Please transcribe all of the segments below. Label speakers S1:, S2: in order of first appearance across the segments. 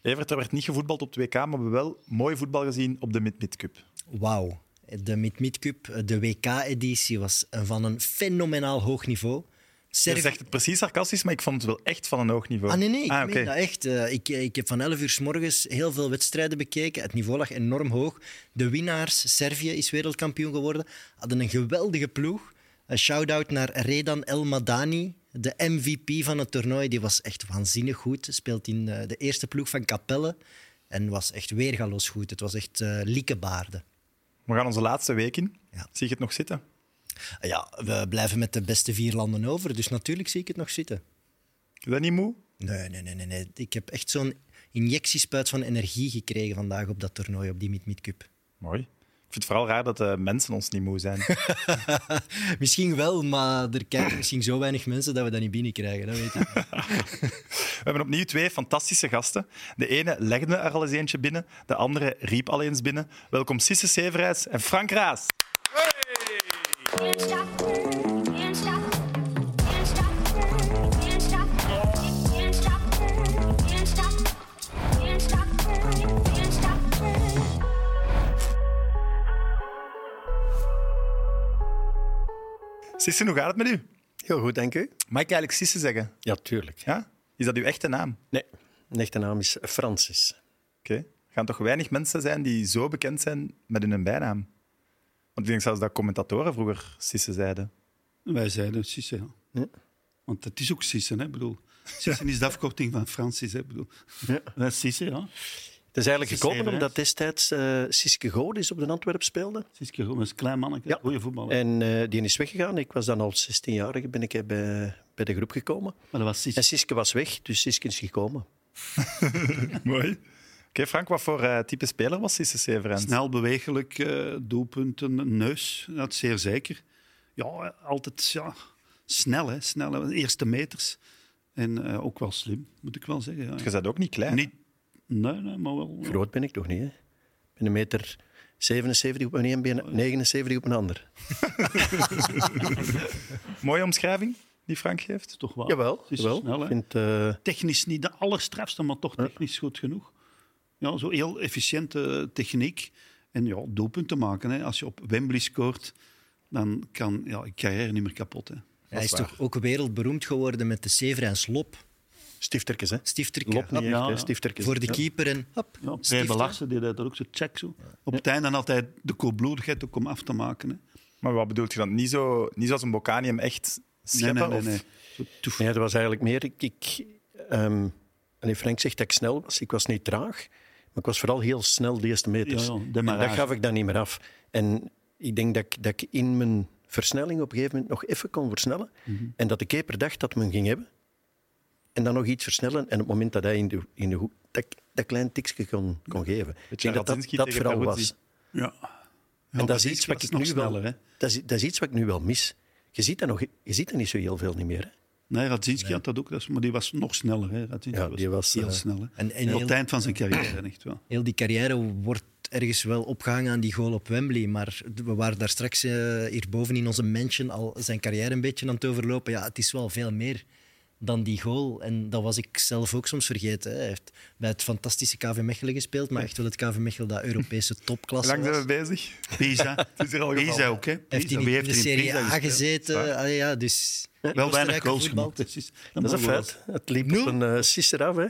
S1: Evert, er werd niet gevoetbald op 2K, maar we hebben wel mooi voetbal gezien op de Mid-Mid Cup.
S2: Wauw. De Mid-Mid Cup, de WK-editie, was van een fenomenaal hoog niveau.
S1: Je
S2: Servië-
S1: zegt het precies sarcastisch, maar ik vond het wel echt van een hoog niveau.
S2: Ah, nee, nee, ik
S1: Ah,
S2: meen
S1: oké.
S2: dat echt. Eh, ik, ik heb van 11 uur s morgens heel veel wedstrijden bekeken. Het niveau lag enorm hoog. De winnaars, Servië is wereldkampioen geworden, hadden een geweldige ploeg. Een shout-out naar Redan El Madani, de MVP van het toernooi. Die was echt waanzinnig goed. Speelt in eh, de eerste ploeg van Capelle en was echt weergaloos goed. Het was echt eh liekebaarden.
S1: We gaan onze laatste week in.
S2: Ja.
S1: Zie je het nog zitten?
S2: Ja, we blijven met de beste vier landen over, dus natuurlijk zie ik het nog zitten.
S1: Is dat niet moe?
S2: Nee, nee, nee, nee. nee. Ik heb echt zo'n injectiespuit van energie gekregen vandaag op dat toernooi, op die Meet Meet Cup.
S1: Mooi. Ik vind het vooral raar dat de mensen ons niet moe zijn.
S2: Misschien wel, maar er kijken misschien zo weinig mensen dat we dat niet binnenkrijgen. Dat weet ik. niet.
S1: We hebben opnieuw twee fantastische gasten. De ene legde er al eens eentje binnen, de andere riep al eens binnen. Welkom Sisse Severijs en Frank Raas.
S3: Can't stop, can't stop, can't stop, can't stop, can't stop, can't stop, can't stop, can't stop.
S1: Sisse, hoe gaat het met u?
S4: Heel goed, denk u?
S1: Mag ik eigenlijk Sisse zeggen?
S4: Ja, tuurlijk.
S1: Ja? Is dat uw echte naam?
S4: Nee, mijn echte naam is Francis.
S1: Oké. Er gaan toch weinig mensen zijn die zo bekend zijn met hun bijnaam? Want ik denk zelfs dat commentatoren vroeger Sisse zeiden.
S5: Wij zeiden Sisse, ja.
S4: Ja.
S5: Want het is ook Sisse, hè? Ik bedoel, Sisse is de afkorting van Francis, hè? Ik bedoel, dat is Sisse, ja.
S4: Het is eigenlijk gekomen
S5: Zeven, hè?
S4: omdat destijds eh Siske Godis op de Antwerp speelde.
S5: Siske Gomes, een klein mannetje,
S4: Ja.
S5: goede voetballer.
S4: En eh, die is weggegaan. Ik was dan als 16-jarige ben ik eh, bij, bij de groep gekomen.
S5: Maar dat was Sisse.
S4: En Siske was weg, dus Siske is gekomen.
S1: Mooi. Oké, Frank, wat voor eh, type speler was Sisse Severijs?
S5: Snel bewegelijk, eh, doelpunten, een neus, dat zeer zeker. Ja, altijd ja, snel, hè? Snel, hè, eerste meters. En eh, ook wel slim, moet ik wel zeggen. ja.
S1: Je bent ook niet klein.
S5: Niet, nee, nee, maar wel.
S4: Groot ben ik toch niet, hè? Ik ben een meter 77 op mijn een been, 79 op mijn ander.
S5: Ah,
S1: Mooie omschrijving die Frank geeft.
S5: Toch wel.
S4: Jawel,
S5: Het is
S4: jawel.
S5: Snel,
S4: ik
S5: hè?
S4: vind, eh,
S5: technisch niet de allerstrafste, maar toch technisch goed genoeg. Ja, zo heel efficiënte eh, techniek. En ja, doelpunten maken. Hè. Als je op Wembley scoort, dan kan ja, je carrière niet meer kapot. Hè.
S2: Hij is
S1: waar.
S2: toch ook wereldberoemd geworden met de Sever en Slop.
S4: stiftertjes, hè?
S2: Stifterke.
S4: Lop niet
S2: Hop,
S4: echt,
S5: ja,
S4: hè?
S5: ja.
S4: Stiftertjes.
S2: voor de
S4: Ja.
S2: keeper en hop,
S5: Ja, Pierre
S2: stifter.
S5: Larsen deed dat ook zo, check zo. Op het einde dan altijd de koelbloedigheid ook om af te maken. Hè.
S1: Maar wat bedoelt je dan? Niet, zo, niet zoals een Bocanium echt
S5: Nee,
S1: scheppen?
S5: nee, nee. nee.
S1: Of...
S5: Zo toef.
S4: Nee, dat was eigenlijk meer. Ik, ik, ehm, allee, Frank zegt dat ik snel was. Ik was niet traag, maar ik was vooral heel snel de eerste meters.
S5: Ja, ja,
S4: en dat
S5: demarrage.
S4: gaf ik dan niet meer af. En ik denk dat ik, dat ik in mijn versnelling op een gegeven moment nog even kon versnellen. En dat de keeper dacht dat men ging hebben. En dan nog iets versnellen. En op het moment dat hij in de, in de hoek dat, ik dat klein tikje kon, kon geven. Ik denk dat dat,
S1: Radzinski
S4: dat
S1: tegen
S4: vooral
S1: Peruzzi.
S4: was.
S5: Ja.
S4: En dat is iets wat ik
S5: nog
S4: nu
S5: sneller. Hè.
S4: wel... Dat is, dat is iets wat ik nu wel mis. Je ziet dat, nog, je ziet dat niet zo heel veel niet meer. Hè?
S5: Nee, Radzinski had dat ook, dat is- maar die was nog sneller. Hè. Radzinski
S4: Ja, die was,
S5: heel
S4: eh,
S5: snel. hè.
S2: en- en
S5: op het
S2: heel-
S5: eind van zijn carrière, echt wel.
S2: Heel die carrière wordt ergens wel opgehangen aan die goal op Wembley. Maar we waren daar straks eh, hierboven in onze mansion al zijn carrière een beetje aan het overlopen. Ja, het is wel veel meer dan die goal. En dat was ik zelf ook soms vergeten. Hè. Hij heeft bij het fantastische KV Mechelen gespeeld, maar echt wel het KV Mechelen dat Europese
S1: Hoe
S2: topklasse
S1: lang zijn
S2: was.
S1: we bezig?
S5: Pisa.
S1: is hier al
S5: Pisa
S1: gevallen.
S5: ook, hè?
S2: Heeft
S5: Pisa.
S2: hij
S5: Wie
S2: niet in de
S5: er
S2: Serie
S5: Pisa
S2: A
S5: gespeeld?
S2: gezeten? Ah, ja, dus
S5: Wel weinig
S2: Oostenrijker
S5: goals
S2: voetbal.
S5: gemaakt. Dat, dus is,
S4: Dat is een feit. Het liep op een eh, sisser af, hè.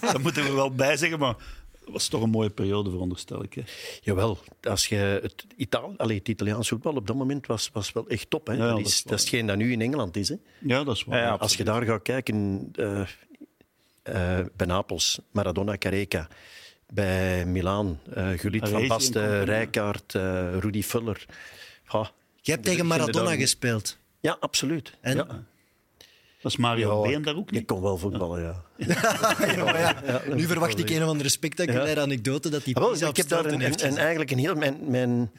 S5: Dat moeten we wel bij zeggen, maar het was toch een mooie periode, veronderstel ik. Hè.
S4: Jawel, als je het, Italië, allee, het Italiaans voetbal op dat moment was, was wel echt top. Hè?
S5: ja,
S4: dat,
S5: dat
S4: is, dat,
S5: is
S4: is,
S5: waar.
S4: hetgeen dat nu in Engeland is. Hè?
S5: Ja, dat is waar.
S1: Ja, ja.
S4: Als je daar gaat kijken, eh eh, bij Napels, Maradona Careca, bij Milaan, eh Gullit van
S5: Parisi en
S4: Basten,
S5: compagnie.
S4: Rijkaard, eh, Rudy Fuller. Ha,
S2: Je hebt tegen
S4: Ik vind het
S2: Maradona
S4: dan-
S2: gespeeld.
S4: Ja, absoluut.
S2: En
S4: ja.
S5: Was Mario Been daar ook
S4: Ik
S5: niet?
S4: kon wel voetballen, ja.
S2: nu verwacht ik een of andere spectaculaire anekdote dat die
S4: Ah, wel,
S2: Pisa
S4: ik heb daar een,
S2: heeft.
S4: een- een- eigenlijk een heel... Mijn, mijn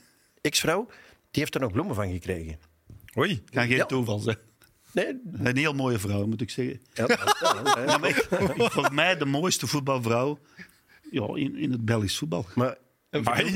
S4: ex-vrouw, die heeft er nog bloemen van gekregen.
S1: Oei.
S5: Kan geen
S4: Ja.
S5: toeval zijn.
S4: Nee,
S5: Een heel mooie vrouw, moet ik zeggen.
S4: ja, ja, ja.
S5: Ja, maar ik- Volgens mij de mooiste voetbalvrouw ja, in, in het Belgisch voetbal.
S4: maar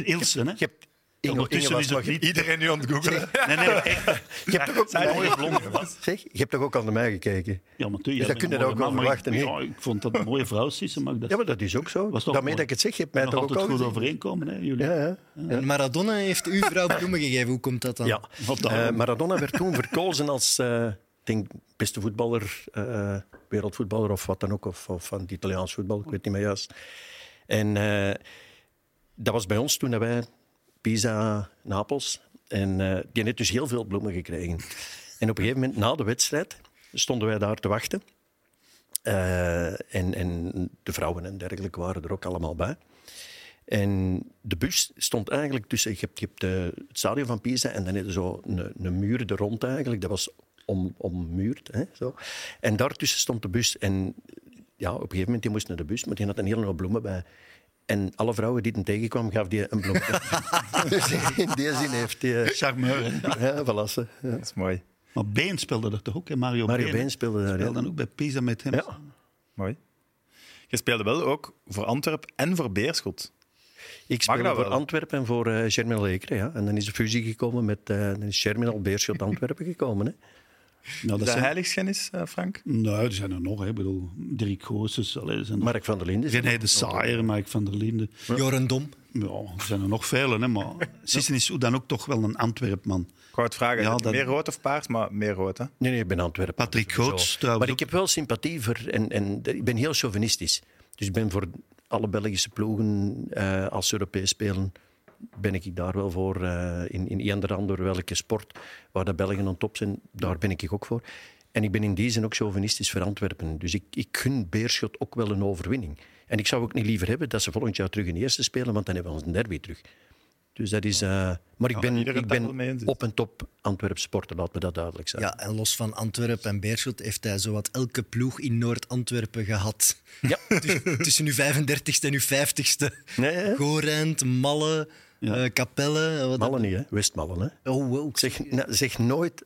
S5: Ilsen, hè?
S4: Je hebt, Inge-
S1: Ondertussen
S4: Inge
S1: is
S4: was
S1: ook
S4: nog niet-
S1: iedereen nu aan het googelen.
S5: Nee, nee, echt.
S4: Je hebt toch ook,
S1: Zijn mooie blonde was.
S4: zeg, je hebt toch ook al naar mij gekeken?
S5: Ja, maar
S4: Dus dat kun je
S5: daar
S4: dat ook wel verwachten,
S5: Ik,
S4: hè?
S5: ja, ik vond dat een mooie vrouw, Sisse. Maar dat
S4: Ja, maar dat is ook zo.
S5: Was toch
S4: Daarmee dat
S5: mooi.
S4: ik het zeg, je hebt mij
S5: nog
S4: toch ook
S5: altijd
S4: al
S5: goed
S4: gezien.
S5: overeenkomen, hè, jullie.
S4: Ja, ja.
S6: En Maradona heeft uw vrouw bloemen gegeven. Hoe komt dat dan?
S4: ja.
S5: Wat dan?
S4: Eh, Maradona werd toen verkozen als eh, ik denk, beste voetballer, eh, wereldvoetballer of wat dan ook, of, of van het Italiaans voetbal, ik weet niet meer juist. En eh, dat was bij ons toen dat wij Pisa, Napels. En eh, die heeft dus heel veel bloemen gekregen. En op een gegeven moment na de wedstrijd stonden wij daar te wachten. Eh, en, en de vrouwen en dergelijke waren er ook allemaal bij. En de bus stond eigenlijk tussen. Je hebt, je hebt, eh, het stadion van Pisa en dan heb je zo een, een muur er rond eigenlijk. Dat was om, ommuurd. Hè, zo. En daartussen stond de bus. En ja, op een gegeven moment die moest naar de bus, maar die had een hele hoop bloemen bij. En alle vrouwen die hem tegenkwam, gaf die een bloem. dus in die zin heeft hij. eh,
S5: Charmeur. hè.
S4: Ja, verlassen.
S1: Dat is mooi.
S5: Maar Been speelde dat toch ook, hè? Mario,
S4: Mario Been speelde daar,
S5: speelde
S4: ja.
S5: dan ook bij Pisa met hem.
S4: Ja.
S1: mooi. Je speelde wel ook voor Antwerp en voor Beerschot.
S4: Ik
S1: Mag
S4: speel
S1: dat
S4: voor
S1: wel?
S4: Antwerpen en voor eh Germinal Lekeren. Ja. En dan is de fusie gekomen met. eh dan is Germinal Beerschot Antwerpen gekomen. Hè.
S5: Nou,
S1: Is
S5: dat
S1: dat
S5: zijn...
S1: heiligschennis, eh, Frank?
S5: Nou, er zijn er nog, hè. Ik bedoel, Dirk Goossens, allee, er zijn er...
S4: Mark van der Linden.
S5: René de Saaier, Mike van der Linden.
S6: Joren Dom.
S5: Ja, er zijn er nog velen, hè. Maar Sissen is hoe dan ook toch wel een Antwerpman.
S1: Ik wou het vragen.
S5: Ja,
S1: heb je
S5: dat-
S1: meer rood of paars? Maar meer rood, hè?
S4: Nee, nee, ik ben Antwerpen.
S5: Patrick
S4: sowieso.
S5: Goots trouwens
S4: Maar ik
S5: ook.
S4: heb wel sympathie voor. En, en ik ben heel chauvinistisch. Dus ik ben voor alle Belgische ploegen eh, als ze Europees spelen. Ben ik daar wel voor. eh, in, in ieder ander welke sport waar de Belgen aan top zijn, daar ben ik ook voor. En ik ben in die zin ook chauvinistisch voor Antwerpen. Dus ik, ik gun Beerschot ook wel een overwinning. En ik zou ook niet liever hebben dat ze volgend jaar terug in eerste spelen, want dan hebben we ons derby terug. Dus dat is. eh, maar ik ben,
S1: iedereen
S4: ik
S1: daar wel mee
S4: ben
S1: eens is.
S4: op en top Antwerp sporter, laat me dat duidelijk zijn.
S6: Ja, en los van Antwerpen en Beerschot heeft hij zowat elke ploeg in Noord-Antwerpen gehad.
S4: Ja.
S6: Tussen- Tussen uw 35ste en uw 50ste.
S4: Nee, hè?
S6: Gorent, Malle, eh, Capelle. eh, Wat
S4: Mallen niet, hè? Westmallen. Hè?
S6: Oh, wow. Ik zeg,
S4: Zeg, na- zeg nooit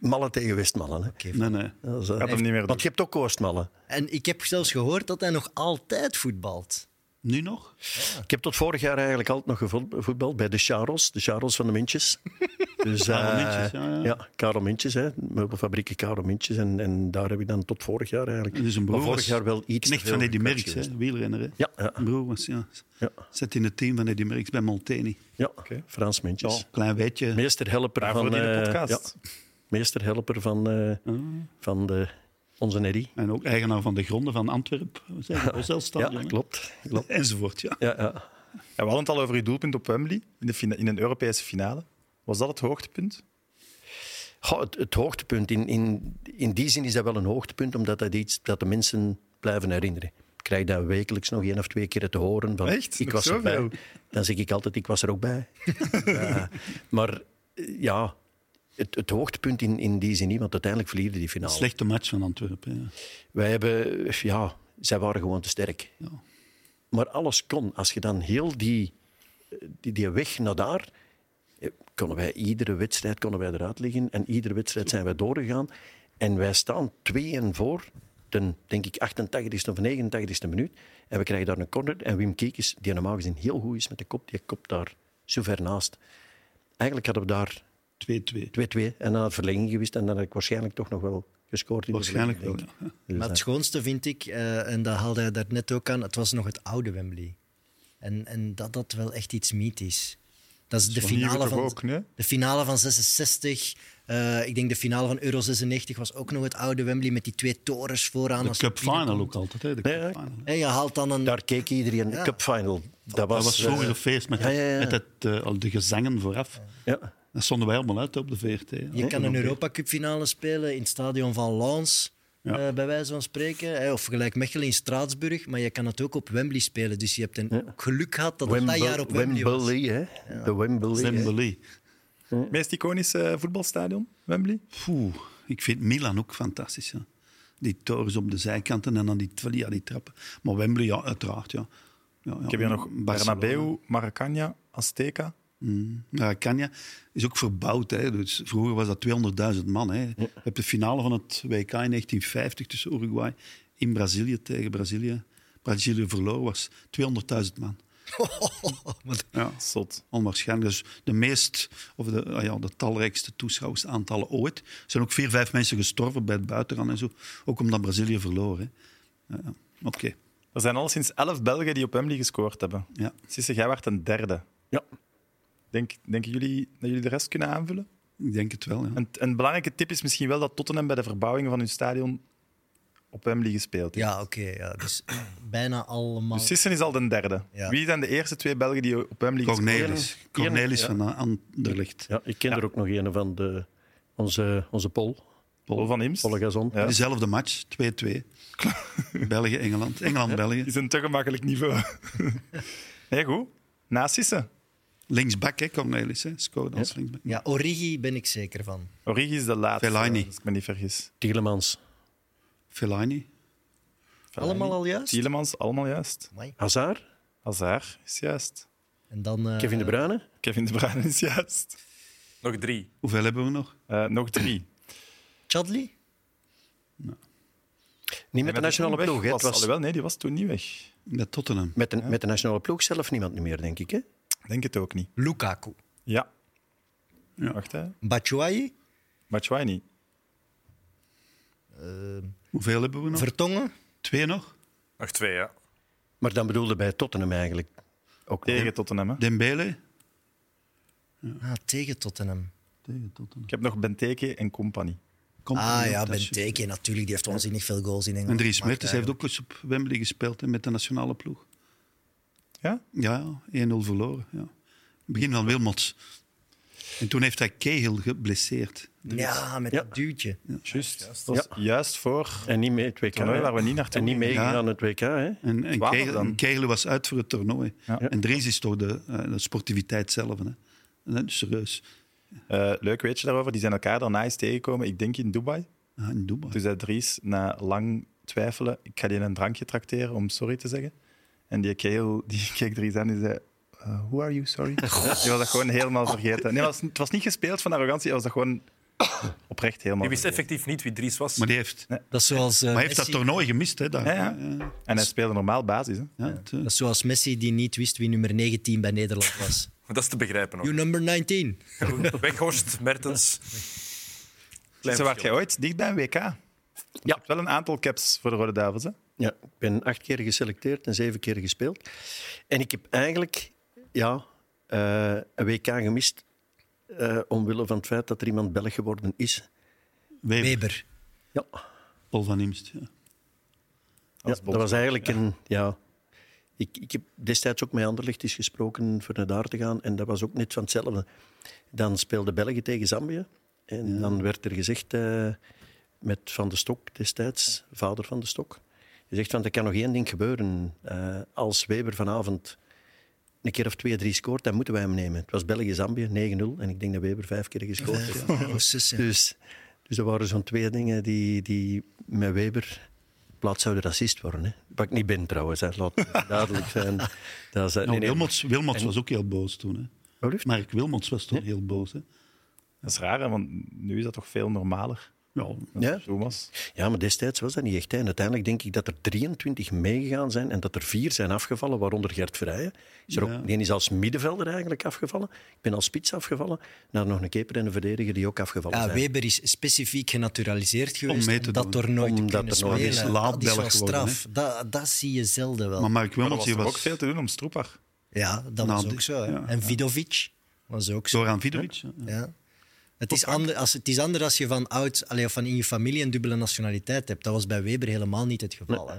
S4: Mallen tegen Westmallen. Hè?
S5: Nee, nee.
S4: Dat is, eh,
S1: Gaat hem niet meer doen.
S4: Want je hebt ook Oostmallen.
S6: En ik heb zelfs gehoord dat hij nog altijd voetbalt.
S5: Nu nog?
S4: Ik heb tot vorig jaar eigenlijk altijd nog gevoetbald bij de Charles, de Charles van de Mintjes. Dus, eh,
S5: Karel Mintjes, ja, ja.
S4: Karel Mintjes, hè. Meubelfabrieken Karel Mintjes. En, en daar heb ik dan tot vorig jaar eigenlijk.
S5: Dus een
S4: maar
S5: broer
S4: vorig
S5: was
S4: jaar wel iets.
S5: Knecht
S4: te veel
S5: van Eddy
S4: gekwetst
S5: Merckx,
S4: geweest.
S5: hè, wielrenner. Hè?
S4: Ja, ja.
S5: Een Broer was, ja.
S4: Ja.
S5: Zit in het team van Eddy Merckx bij Molteni.
S4: Ja, Frans Mintjes.
S5: Ja, klein weetje.
S4: Meesterhelper
S1: Daarvoor
S4: van...
S1: die de
S4: eh,
S1: podcast.
S4: ja. meesterhelper van, eh,
S5: Ah.
S4: van de, onze Eddy.
S5: En ook eigenaar van de gronden van Antwerpen.
S4: Ja,
S5: Zelfstadion.
S4: klopt. klopt.
S5: Enzovoort, ja.
S4: Ja, ja.
S1: Ja, we hadden het al over uw doelpunt op Wembley in, de fina- in een Europese finale. Was dat het hoogtepunt?
S4: Goh, het, het hoogtepunt. In, in, in die zin is dat wel een hoogtepunt, omdat dat iets dat de mensen blijven herinneren. Ik krijg dat wekelijks nog één of twee keer te horen. Van,
S1: Echt?
S4: Ik
S1: Nog
S4: was
S1: zoveel?
S4: erbij. Dan zeg ik altijd, ik was er ook bij. Ja. maar eh, ja, het, het hoogtepunt in, in die zin niet, want uiteindelijk verliezen die finale.
S5: Slechte match van Antwerpen. Ja.
S4: Wij hebben, ja, zij waren gewoon te sterk.
S5: Ja.
S4: Maar alles kon. Als je dan heel die, die, die weg naar daar. eh, konden wij iedere wedstrijd konden wij eruit liggen. En iedere wedstrijd zijn wij doorgegaan. En wij staan 2-1 voor. Ten, denk ik, 88ste of 89ste minuut. En we krijgen daar een corner. En Wim Kiekes, die normaal gezien heel goed is met de kop, die kopt daar zo ver naast. Eigenlijk hadden we daar
S5: 2-2.
S4: 2-2 en dan had verlenging geweest. En dan had ik waarschijnlijk toch nog wel gescoord. In de
S5: Waarschijnlijk wel,
S4: verlenging,
S5: ja.
S4: denk ik. Dus,
S6: Maar
S4: eh.
S6: het schoonste vind ik, eh, en dat haalde hij daarnet ook aan, het was nog het oude Wembley. En, en dat dat wel echt iets mythisch. Dat is de
S1: van hier
S6: finale
S1: toch
S6: van,
S1: ook, nee?
S6: de finale van 66. eh, ik denk de finale van Euro 96 was ook nog het oude Wembley met die twee torens vooraan.
S5: De
S6: als je
S5: cup final
S6: binnenkomt.
S5: ook altijd. Hè. De
S4: Ja, ja.
S5: cup final.
S6: En je haalt dan een...
S4: Daar keek iedereen. De Cup Final. Dat was,
S5: Dat was vroeger
S4: eh,
S5: een feest met,
S4: ja, ja, ja.
S5: met het, eh, al de gezangen vooraf.
S4: ja.
S5: Dat stonden wij allemaal uit op de VRT.
S6: Je kan een Europa Cup finale spelen in het stadion van Lens,
S5: Ja.
S6: eh, bij wijze van spreken. hè, of gelijk Mechelen in Straatsburg. Maar je kan het ook op Wembley spelen. Dus je hebt een geluk gehad dat het dat jaar op Wembley, was.
S4: Wembley, hè? De Wembley. hè.
S5: Wembley.
S1: Meest iconische voetbalstadion, Wembley?
S5: Poeh, ik vind Milan ook fantastisch. Ja. Die torens op de zijkanten en dan die, ja, die trappen. Maar Wembley, ja, uiteraard. Ja. Ja, ja.
S1: Ik heb hier nog
S5: Barcelona.
S1: Bernabeu, Maracanã, Azteca.
S5: Maracanã is ook verbouwd. Hè. Dus vroeger was dat 200.000 man. Hè. Je hebt de finale van het WK in 1950 tussen Uruguay in Brazilië tegen Brazilië. Brazilië verloor was 200.000 man.
S6: Wat-
S5: Ja,
S1: Zot.
S5: onwaarschijnlijk. Dus de meest, of de, ah ja, de talrijkste toeschouwersaantallen ooit. Er zijn ook vier, vijf mensen gestorven bij het buitenland en zo. Ook omdat Brazilië verloor. Hè. Ja, ja. Oké.
S1: Er zijn al sinds elf Belgen die op Wembley gescoord hebben.
S5: Ja.
S1: Sisse, jij werd een derde.
S4: Ja.
S1: Denk, denken jullie dat jullie de rest kunnen aanvullen?
S5: Ik denk het wel. Ja.
S1: Een, een belangrijke tip is misschien wel dat Tottenham bij de verbouwing van hun stadion op Wembley gespeeld heeft.
S6: Ja, oké. ja, dus bijna allemaal.
S1: Dus Sissen is al de derde.
S6: Ja.
S1: Wie zijn de eerste twee Belgen die op Wembley gescoord hebben?
S5: Cornelis. Cornelis
S4: Ja.
S5: van A- Anderlecht.
S4: Ja, ik ken er ook nog een van de, onze, onze Pol,
S1: Paul van Imst.
S4: Polle Gazon.
S1: Ja.
S5: Dezelfde match, 2-2. België-Engeland. Engeland-België.
S1: is een te gemakkelijk niveau. nee, goed. Na Sissen.
S5: Linksback, hè, Cornelis. Hè. Scoorde als linksback.
S6: Ja, Origi ben ik zeker van.
S1: Origi is de laatste,
S5: Fellaini.
S1: als ik me niet vergis.
S4: Tielemans,
S5: Fellaini.
S1: Fellaini.
S6: Allemaal al juist?
S1: Tielemans, allemaal juist.
S6: Amai.
S4: Hazard,
S1: Hazard is juist.
S6: En dan, eh,
S4: Kevin De Bruyne.
S1: Kevin De Bruyne is juist.
S7: Nog drie.
S5: Hoeveel hebben we nog?
S1: Eh, nog drie.
S6: Chadli?
S4: Niet met de nationale
S1: Toen weg
S4: ploeg, hè. Het
S1: Was,
S4: was
S1: Alhoewel, nee, die was toen niet weg.
S5: Met Tottenham.
S4: met, de, met de nationale ploeg zelf niemand meer, denk ik. Hè?
S1: Denk het ook niet.
S6: Lukaku.
S1: Ja.
S5: Ja.
S1: Wacht, hè.
S6: Batshuayi?
S1: Batshuayi.
S5: Hoeveel hebben we nog?
S6: Vertongen?
S5: Twee nog?
S7: Nog twee, ja.
S4: Maar dan bedoelde bij Tottenham eigenlijk ook nog, hè.
S1: Tegen Tottenham, hè.
S5: Dembele?
S6: Ah, tegen Tottenham.
S5: Tegen Tottenham.
S1: Ik heb nog Benteke en compagnie.
S5: Komt er
S6: Ah
S5: nog,
S6: ja,
S5: dat is-
S6: Benteke natuurlijk. Die heeft waanzinnig veel goals in Engeland.
S5: En Dries
S6: gemaakt,
S5: Mertens heeft ook eens op Wembley gespeeld hè, met de nationale ploeg.
S1: Ja?
S5: Ja, ja, 1-0 verloren. Ja. In het begin van Wilmots. En toen heeft hij Cahill geblesseerd.
S6: eigenlijk. Ja, met dat duwtje.
S1: Juist. Dat was juist voor...
S4: En niet mee het WK.
S1: Toernooi
S4: hè.
S1: waar we niet naartoe
S4: En niet
S1: gingen.
S4: meegegaan aan het WK, hè.
S5: En, en,
S1: Twaalf
S5: Cahill,
S1: dan.
S5: en Cahill was uit voor het toernooi.
S1: Ja.
S5: En Dries is toch de, eh, de sportiviteit zelf. Hè. En dat is serieus.
S1: Eh, leuk weet je daarover. Die zijn elkaar daarna eens tegengekomen. Ik denk in Dubai.
S5: Ah, in Dubai.
S1: Toen zei Dus Dries, na lang twijfelen, ik ga die een drankje trakteren om sorry te zeggen. En die keel, die keek Dries aan en zei... eh, who are you, sorry? Die was dat gewoon helemaal vergeten. Nee, het was, het was niet gespeeld van arrogantie, hij was dat gewoon oprecht helemaal
S7: Die wist
S1: vergeten.
S7: effectief niet wie Dries was.
S5: maar die heeft,
S6: Dat is zoals, eh,
S5: maar heeft dat
S6: Messi,
S5: toernooi gemist. Hè, daar.
S1: Ja, ja. En hij speelde normaal basis. Hè?
S5: Ja, het, eh,
S6: dat is zoals Messi die niet wist wie nummer 19 bij Nederland was.
S7: Maar Dat is te begrijpen
S6: You
S7: ook.
S6: number 19.
S7: Weghorst, Mertens. Klein
S1: Ze waart jij
S7: verschil.
S1: ooit dicht bij een WK? Ja. Je hebt wel een aantal caps voor de Rode Duivels. Hè?
S4: Ja, ik ben acht keer geselecteerd en zeven keer gespeeld. En ik heb eigenlijk ja, eh, een WK gemist eh, omwille van het feit dat er iemand Belg geworden is.
S5: Weber,
S6: Weber.
S4: Ja,
S5: Paul van Imst. Ja. Nou,
S4: ja
S1: bond.
S4: dat was eigenlijk een... Ja, ik, ik heb destijds ook met Anderlecht eens gesproken voor naar daar te gaan. En dat was ook net van hetzelfde. Dan speelde België tegen Zambië. En dan werd er gezegd eh, met Van de Stok destijds, vader Van de Stok... Je zegt, want er kan nog één ding gebeuren. Eh, als Weber vanavond een keer of twee, drie scoort, dan moeten wij hem nemen. Het was België-Zambië, 9-0. En ik denk dat Weber vijf keer gescoord heeft.
S6: Oh, zus, ja.
S4: Dus, dus dat waren zo'n twee dingen die, die met Weber plaats zouden racist worden. Hè. Wat ik niet ben trouwens, hè. laat het duidelijk zijn. Dat is, eh, nee,
S5: Nou,
S4: nee,
S5: Wilmots, Wilmots was ook heel boos toen. Hè.
S4: Wat lief?
S5: Mark Wilmots was toen heel boos. Hè.
S1: Dat is raar, hè, want nu is dat toch veel normaler.
S5: Ja,
S4: Ja?
S1: Thomas.
S4: ja, maar destijds was dat niet echt. Hè. En uiteindelijk denk ik dat er 23 meegegaan zijn en dat er vier zijn afgevallen, waaronder Gert Vrijen. Is er
S5: Ja.
S4: ook, die is als middenvelder eigenlijk afgevallen. Ik ben als spits afgevallen. Naar nog een keper en een verdediger die ook afgevallen
S6: Ja,
S4: zijn.
S6: Weber is specifiek genaturaliseerd geweest
S5: mee te
S6: dat
S5: doen.
S6: toernooi te
S4: Omdat
S6: kunnen
S4: er nooit
S6: spelen.
S4: is
S5: laat
S6: dat is wel
S5: Belg geworden,
S6: straf. Dat, dat zie je zelden wel.
S5: Maar Mark
S1: Maar er was
S5: Wilmots die
S1: toch
S5: was
S1: ook veel te doen om Stroepar.
S6: ja, dat
S5: Nou,
S6: was
S5: die-
S6: ook zo. hè.
S5: ja,
S6: en Vidovic was ook zo.
S5: Zoran Vidovic. ja.
S6: Ja. Het, is ander, als, het is anders als je van oud, allee, of van in je familie een dubbele nationaliteit hebt. Dat was bij Weber helemaal niet het geval. Hè.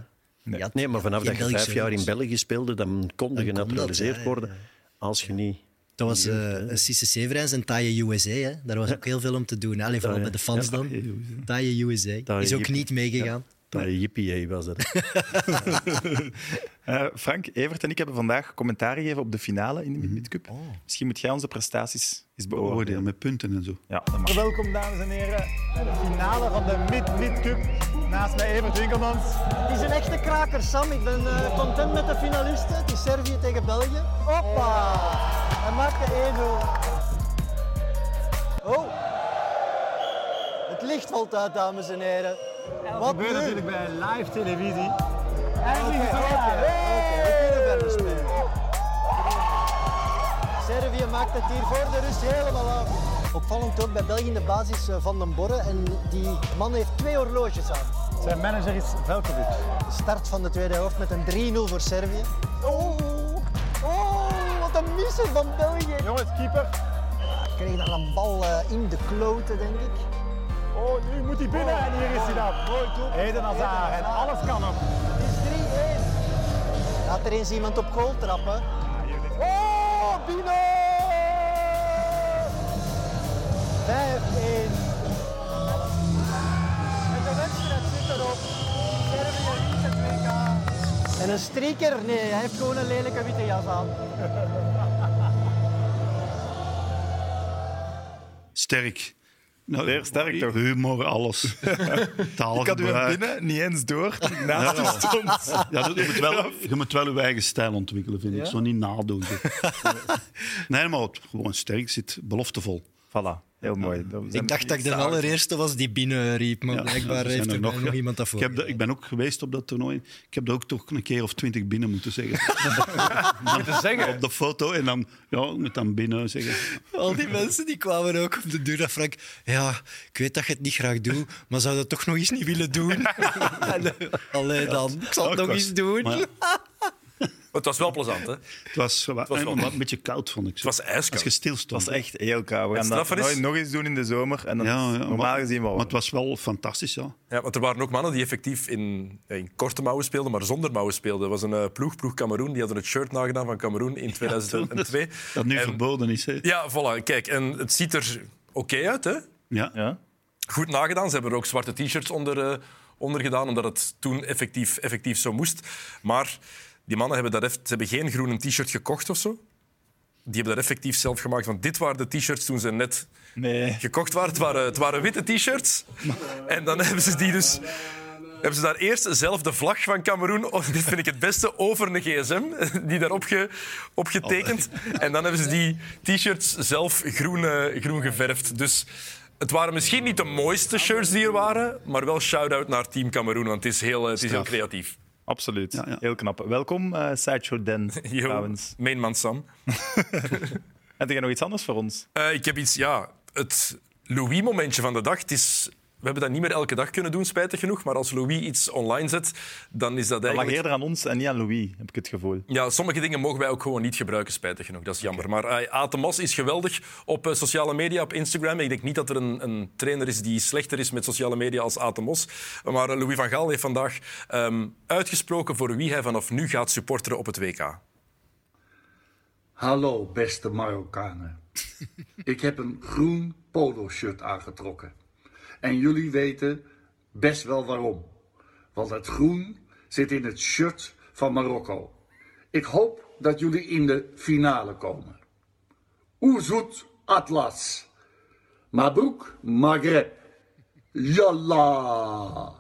S6: Je had-
S4: Nee, maar vanaf
S6: je
S4: dat je
S6: Belgische
S4: vijf jaar in
S6: roots.
S4: België speelde, dan kon je
S6: dat,
S4: genaturaliseerd
S6: ja, ja,
S4: worden. Als je niet...
S6: Dat was eh Cisse Severijns en Taaie USA. Hè. Daar was ook heel veel om te doen. Allee, vooral
S4: Taaie-
S6: bij de fans
S4: ja,
S6: dan. Taaie USA.
S4: Taaie
S6: is ook
S4: Jippie.
S6: niet meegegaan.
S4: Dat jippie was dat.
S1: Eh, Frank, Evert en ik hebben vandaag commentaar gegeven op de finale in de Midweek Cup. Misschien moet jij onze prestaties eens
S5: Oordeel
S1: beoordelen.
S5: met punten en zo.
S1: Ja, dat mag.
S8: Welkom dames en heren bij de finale van de Mid-Mid Cup. Naast mij Evert Winkelmans.
S2: Het is een echte kraker, Sam. Ik ben eh, content met de finalisten. Het is Servië tegen België. Hoppa! Hij maakt de 1-0. Oh! Het licht valt uit, dames en heren. Wat
S8: gebeurt
S2: nu?
S8: natuurlijk bij live televisie.
S2: Oké, oké, we kunnen verder spelen. maakt het hier voor de rust helemaal af. Opvallend ook bij België in de basis eh, Van den Borre. En die man heeft twee horloges aan.
S8: Zijn manager is Velkovic.
S2: De start van de tweede helft met een 3-0 voor Servië. Oh, oh, wat een misser van België.
S8: Jongens, keeper.
S2: Kreeg daar een bal eh, in de kloten, denk ik.
S8: Oh, nu moet hij binnen en hier is hij dan.
S2: Mooi doelpunt.
S8: Eden Hazard en alles kan nog.
S2: Het is 3-1. Laat er eens iemand op goal trappen. Oh, Bino! 5-1. En de wedstrijd zit erop. Servië wint het WK. En een streaker? Nee, hij heeft gewoon een lelijke witte jas aan.
S5: Sterk. Nou,
S1: Zeer sterk, toch?
S5: Humor, alles.
S1: Ik had u hem
S5: Taalgebruik.
S1: binnen niet eens door toen ik naast u stond.
S5: Ja, dat- je, moet wel, je moet wel je eigen stijl ontwikkelen, vind ik. Zo niet nadoen. nee, maar het- gewoon sterk zit, beloftevol.
S1: Voilà, heel mooi. Dat zijn
S6: Ik dacht dat ik de
S1: samen.
S6: allereerste was die binnenriep, maar
S5: Ja, er
S6: blijkbaar
S5: zijn
S6: heeft
S5: er
S6: er nog, nog
S5: ja.
S6: iemand dat voor.
S5: Ik, heb dat- ik ben ook geweest op dat toernooi. Ik heb er ook toch een keer of twintig binnen moeten zeggen.
S9: Te zeggen.
S5: op de foto en dan, ja, ik moet dan binnen zeggen.
S6: Al die mensen die kwamen ook op de duur dat Frank... Ja, ik weet dat je het niet graag doet, maar zou dat toch nog eens niet willen doen? Allee dan, ik zal het
S5: Ook
S6: nog
S5: was-
S6: eens doen.
S5: Maar ja,
S7: Het was wel plezant, hè?
S5: het was, het was
S7: wel-
S5: een beetje koud, vond ik.
S7: Het was
S5: Als
S7: ijskoud.
S5: je stilstond.
S1: Dat is echt heel koud. We gaan dat
S7: straffer is-
S1: nooit nog eens doen in de zomer. En dan
S5: Ja, ja,
S1: normaal
S5: maar-
S1: gezien
S5: Maar
S1: wel.
S5: het was wel fantastisch, ja.
S7: Ja, want er waren ook mannen die effectief in, ja, in korte mouwen speelden, maar zonder mouwen speelden. Er was een eh, ploeg, ploeg Cameroen, die hadden het shirt nagedaan van Cameroen in 2002.
S5: Dat nu
S7: En-
S5: verboden is, hè.
S7: Ja, voilà. Kijk, en het ziet er oké uit, hè?
S5: Ja.
S1: Ja?
S7: Goed nagedaan. Ze hebben er ook zwarte t-shirts onder, eh, onder gedaan, omdat het toen effectief, effectief zo moest. Maar die mannen hebben, dat eff- ze hebben geen groene t-shirt gekocht of zo. Die hebben dat effectief zelf gemaakt. Want dit waren de t-shirts toen ze net
S1: Nee.
S7: gekocht waren. Het waren, het waren witte t-shirts. En dan hebben ze die dus... Hebben ze daar eerst zelf de vlag van Cameroen, oh, dit vind ik het beste, over een gsm, die daarop ge, opgetekend. En dan hebben ze die t-shirts zelf groen, eh, groen geverfd. Dus het waren misschien niet de mooiste shirts die er waren, maar wel shout-out naar Team Cameroen, want het is heel, eh, het is heel
S5: Straf.
S7: creatief.
S1: Absoluut.
S5: Ja, ja.
S1: Heel knap. Welkom, eh Sideshow Dan,
S7: Yo,
S1: trouwens.
S7: Mainman Sam.
S1: Heb jij nog iets anders voor ons?
S7: Eh, ik heb iets, ja, het Louis-momentje van de dag. Het is, we hebben dat niet meer elke dag kunnen doen, spijtig genoeg. Maar als Louis iets online zet, dan is
S1: Dat
S7: dat
S1: lag
S7: eigenlijk...
S1: eerder aan ons en niet aan Louis, heb ik het gevoel.
S7: Ja, sommige dingen mogen wij ook gewoon niet gebruiken, spijtig genoeg. Dat is jammer. Maar uh, Atemos is geweldig op eh, sociale media, op Instagram. Ik denk niet dat er een, een trainer is die slechter is met sociale media als Atemos. Maar eh, Louis van Gaal heeft vandaag ehm, uitgesproken voor wie hij vanaf nu gaat supporteren op het WK.
S10: Hallo, beste Marokkanen. Ik heb een groen polo-shirt aangetrokken. En jullie weten best wel waarom. Want het groen zit in het shirt van Marokko. Ik hoop dat jullie in de finale komen. Oezoet Atlas. Mabrouk Maghreb. Yalla.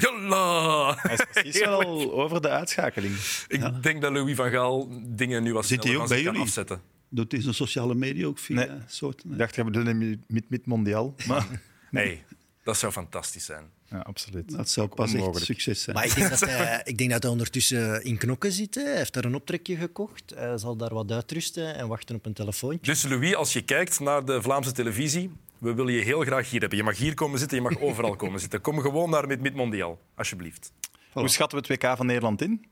S7: Jalla!
S1: Hij is precies wel al over de uitschakeling.
S7: Ik denk dat Louis van Gaal dingen nu wat
S5: Zit hij
S7: sneller
S5: ook
S7: van
S5: bij
S7: zich kan
S5: jullie?
S7: afzetten.
S5: Dat is een sociale media ook, via
S1: Nee.
S5: soorten.
S1: Ik dacht, je bedoelde mid-mid-mondiaal. Maar
S7: Nee, dat zou fantastisch zijn.
S1: ja, absoluut.
S5: Dat zou pas echt
S1: onmogelijk.
S5: succes zijn.
S6: Maar ik denk, dat hij, ik denk dat hij ondertussen in knokken zit. Hè. Hij heeft daar een optrekje gekocht. Hij zal daar wat uitrusten en wachten op een telefoontje.
S7: Dus Louis, als je kijkt naar de Vlaamse televisie, we willen je heel graag hier hebben. Je mag hier komen zitten, je mag overal komen zitten. Kom gewoon naar Mid-Mid Mondial, alsjeblieft.
S1: Hoe schatten we het WK van Nederland in?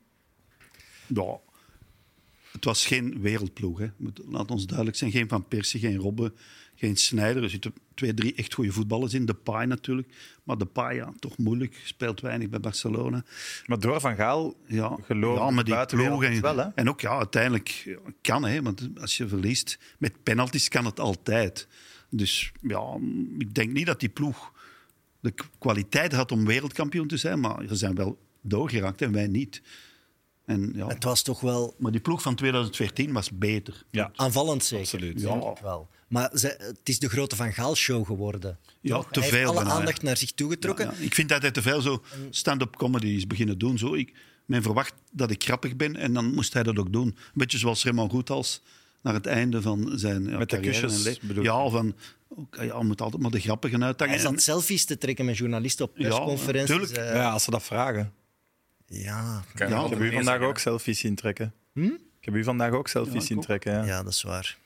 S5: Ja. Het was geen wereldploeg. Hè. Moet- Laat ons duidelijk zijn. Geen Van Persie, geen Robben, geen Snijder. Er zitten twee, drie echt goede voetballers in. De Pai natuurlijk. Maar De Pai, ja, toch moeilijk. Speelt weinig bij Barcelona.
S1: Maar door Van Gaal
S5: Ja,
S1: geloof
S5: ja, maar
S1: ik
S5: die ploeg en,
S1: buitenwereld wel, hè?
S5: en ook ja, uiteindelijk kan, hè, want als je verliest met penalties kan het altijd. Dus ja, ik denk niet dat die ploeg de k- kwaliteit had om wereldkampioen te zijn, maar ze zijn wel doorgeraakt en wij niet. En, ja.
S6: Het was toch wel
S5: Maar die ploeg van 2014 was beter.
S1: Ja.
S6: Aanvallend zeker. Absoluut.
S5: Ja.
S6: wel. Maar ze, het is de grote Van Gaal show geworden.
S5: Ja,
S6: Toch?
S5: te
S6: Hij heeft
S5: veel
S6: alle
S5: bijna, hè.
S6: aandacht naar zich toegetrokken.
S5: Ja, ja. Ik vind dat hij te veel zo stand-up comedy is beginnen doen. Zo, ik, men verwacht dat ik grappig ben en dan moest hij dat ook doen. Een beetje zoals Raymond Goethals naar het einde van zijn ja,
S1: Met de
S5: carrière
S1: kusjes,
S5: en leven.
S1: bedoel je?
S5: Ja, van, ook, ja, moet altijd maar de grappigen uitdagen.
S6: Hij
S5: En-
S6: zat selfies te trekken met journalisten op persconferenties.
S5: tuurlijk.
S6: eh,
S1: Ja, als ze dat vragen.
S6: ja,
S7: Kan je
S5: Ja, Hm? ik
S7: nog
S1: Ik
S5: heb
S1: heb u
S7: meer
S1: vandaag
S7: zeggen,
S1: ook selfies zien trekken. Ik heb u vandaag ook selfies zien trekken, ja.
S6: ja, dat is waar.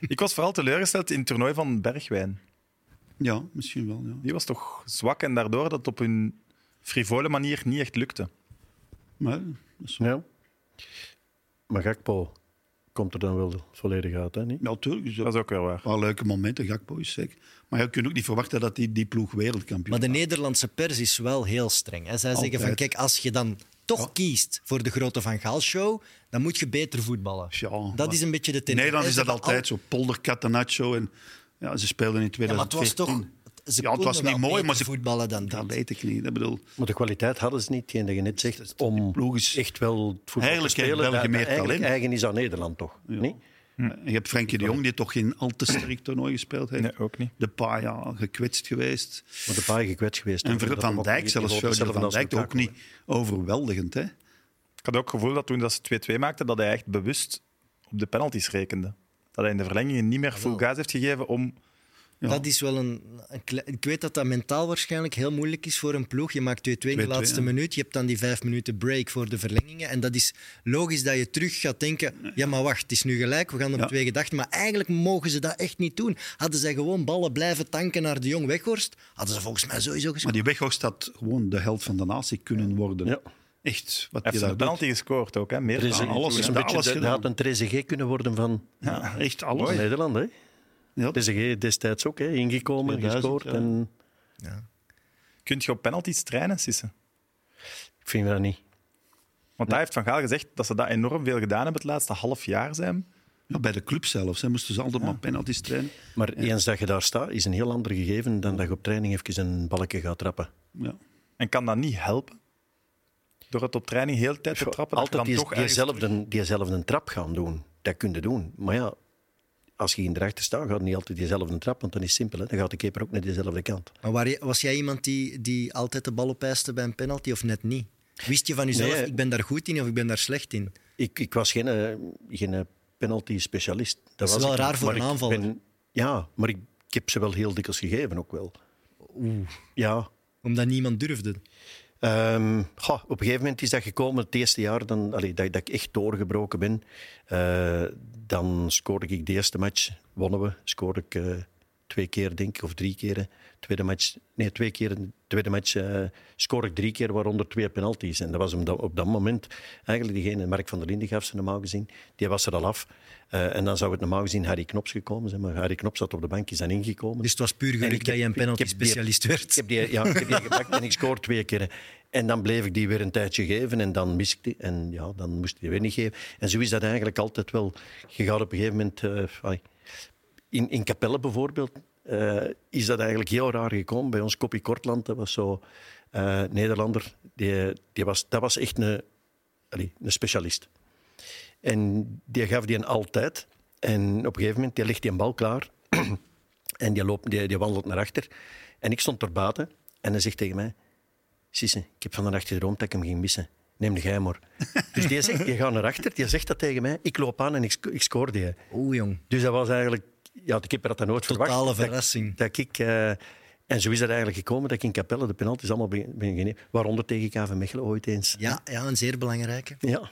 S1: Ik was vooral teleurgesteld in het toernooi van Bergwijn.
S5: Ja, misschien wel. Ja.
S1: Die was toch zwak en daardoor dat het op hun frivole manier niet echt lukte.
S5: Maar dat is wel-
S4: Ja. Maar Gakpo komt er dan wel volledig uit, hè? Niet?
S5: ja, tuurlijk. is dat-
S1: Dat is ook weer waar.
S5: Wel leuke momenten, Gakpo is zeker. Maar je kunt ook niet verwachten dat die, die ploeg wereldkampioen
S6: Maar de Nederlandse pers is wel heel streng. Hè. Zij zeggen van,
S5: Altijd.
S6: kijk, als je dan toch kiest voor de grote Van Gaal show, dan moet je beter voetballen.
S5: Ja,
S6: dat
S5: maar-
S6: is een beetje de
S5: In
S6: tendens.
S5: Nederland is
S6: Ze
S5: dat
S6: hebben
S5: altijd zo. Polder, Catenaccio. En, ja, ze speelden in
S6: al- Ja, maar het was
S5: 2014.
S6: toch... Ze
S5: Ja, het was
S6: konden
S5: niet
S6: wel
S5: mooi, maar
S6: beter
S5: ze-
S6: voetballen dan dat.
S5: Dat weet ik niet. Ik bedoel,
S4: Maar de kwaliteit hadden ze niet, hetgeen dat je net zegt, om
S5: ploeg is-
S4: echt wel het voetbal
S5: Eigenlijk
S4: te
S5: heeft
S4: spelen.
S5: België
S4: dat-
S5: meer
S4: dat eigenlijk
S5: talent.
S4: eigen is aan Nederland, toch? Niet?
S5: En je hebt Frenkie de Jong, die toch geen al te sterk toernooi gespeeld heeft.
S1: Nee, ook niet.
S5: De paar jaar gekwetst geweest.
S4: Maar de paar gekwetst geweest.
S5: En
S4: hè, dat
S5: Van
S4: hem ook
S5: Dijk
S4: niet
S5: zelfs,
S4: niveau
S5: Virgil
S4: hetzelfde
S5: van
S4: als
S5: Dijk ook
S4: Lukaku,
S5: niet overweldigend. Hè?
S1: Ik had ook het gevoel dat toen dat ze 2-2 maakten, dat hij echt bewust op de penalties rekende. Dat hij in de verlengingen niet meer full gas heeft gegeven om...
S6: Dat is wel een, een kle- Ik weet dat dat mentaal waarschijnlijk heel moeilijk is voor een ploeg. Je maakt 2-2 in de
S5: 2-2,
S6: laatste
S5: ja.
S6: minuut. Je hebt dan die vijf minuten break voor de verlengingen. En dat is logisch dat je terug gaat denken... Ja, maar wacht, het is nu gelijk. We gaan op
S5: Ja.
S6: twee gedachten. Maar eigenlijk mogen ze dat echt niet doen. Hadden zij gewoon ballen blijven tanken naar de Jong Weghorst... hadden ze volgens mij sowieso
S5: Maar
S6: gescoord.
S5: die Weghorst had gewoon de held van de natie kunnen worden.
S4: Ja.
S5: Echt, wat
S1: Hij
S5: je
S1: heeft
S5: daar
S1: een
S5: doet.
S1: penalty gescoord ook, hè. Meer
S4: hè. Er is
S1: dan
S4: een,
S5: alles
S4: alles is een
S5: gedaan, alles
S4: beetje de,
S5: gedaan.
S4: had een Trezeguet kunnen worden van
S5: Ja, echt alles.
S4: van Nederland. Hè?
S5: Ja.
S4: Trezeguet destijds ook, hè? ingekomen,
S5: 2000,
S4: gescoord.
S5: ja.
S4: En
S1: Kun je op penalties trainen, Sisse?
S4: ik vind dat niet.
S1: Want hij heeft Van Gaal gezegd dat ze dat enorm veel gedaan hebben het laatste half jaar, zijn.
S5: Ja, bij de club zelfs. Hè, moesten ze altijd maar penalties trainen.
S4: Maar eens dat je daar staat, is een heel ander gegeven dan dat je op training even een balkje gaat trappen.
S5: Ja.
S1: En kan dat niet helpen? Door het op training heel de tijd te trappen? dat je
S4: Altijd
S1: dan
S4: die,
S1: toch ergens
S4: diezelfde, diezelfde trap gaan doen. Dat kun je doen. Maar ja, als je in de rechter staat, gaat het niet altijd diezelfde trap, want dan is het simpel. Hè? Dan gaat de keeper ook naar dezelfde kant.
S6: Maar waar je- was jij iemand die, die altijd de bal opeiste bij een penalty of net niet? Wist je van jezelf,
S4: Nee.
S6: ik ben daar goed in of ik ben daar slecht in?
S4: Ik, ik was geen, eh, geen eh, penalty-specialist. Dat,
S6: is
S4: was
S6: wel
S4: ik
S6: raar
S4: niet.
S6: voor
S4: Maar
S6: een
S4: ik
S6: aanvaller.
S4: ben- ja, maar ik, ik heb ze wel heel dikwijls gegeven ook wel. Ja.
S6: Omdat niemand durfde.
S4: Ehm, goh, op een gegeven moment is dat gekomen, het eerste jaar dan, allee, dat, dat ik echt doorgebroken ben. Eh, dan scoorde ik de eerste match, wonnen we. Scoorde ik eh, twee keer, denk ik, of drie keer. Tweede match, nee, twee keer. Tweede match eh scoorde ik drie keer, waaronder twee penalties. En dat was op dat, op dat moment eigenlijk diegene, Mark van der Linden gaf ze normaal gezien, die was er al af. Eh, en dan zou het normaal gezien Harry Knops gekomen zijn, maar Harry Knops zat op de bank, is dan ingekomen.
S6: Dus het was puur
S4: En
S6: geluk
S4: ik
S6: dat je
S4: heb-
S6: een
S4: ik heb die-
S6: penalty-specialist werd.
S4: Ik heb die, ja, ik heb die gepakt en ik scoor twee keer. En dan bleef ik die weer een tijdje geven en dan mis ik die. En ja, dan moest ik die weer niet geven. En zo is dat eigenlijk altijd wel. Je gaat op een gegeven moment... eh, ai, in, in Capelle bijvoorbeeld eh, is dat eigenlijk heel raar gekomen. Bij ons Koppie Kortland, dat was zo... eh, Nederlander, die, die was, dat was echt een, allee, een specialist. En die gaf die een altijd. En op een gegeven moment die legt die een bal klaar. en die, loopt, die, die wandelt naar achter. En ik stond er buiten. En hij zegt tegen mij... Sisse, ik heb van de nacht gedroomd dat ik hem ging missen. Neem de jij maar. Dus die, zegt, die gaat naar achter. Die zegt dat tegen mij. Ik loop aan en ik, sc- ik scoor die.
S6: Oeh, jong.
S4: Dus dat was eigenlijk... Ja, de keeper had dat nooit
S6: Totale
S4: verwacht. Dat-
S6: verrassing.
S4: Dat, ik... eh, en zo is dat eigenlijk gekomen dat ik in Capelle de penalties allemaal ben, ben geneemd. Waaronder tegen KV Mechelen ooit eens.
S6: Ja, ja, een zeer belangrijke.
S4: Ja.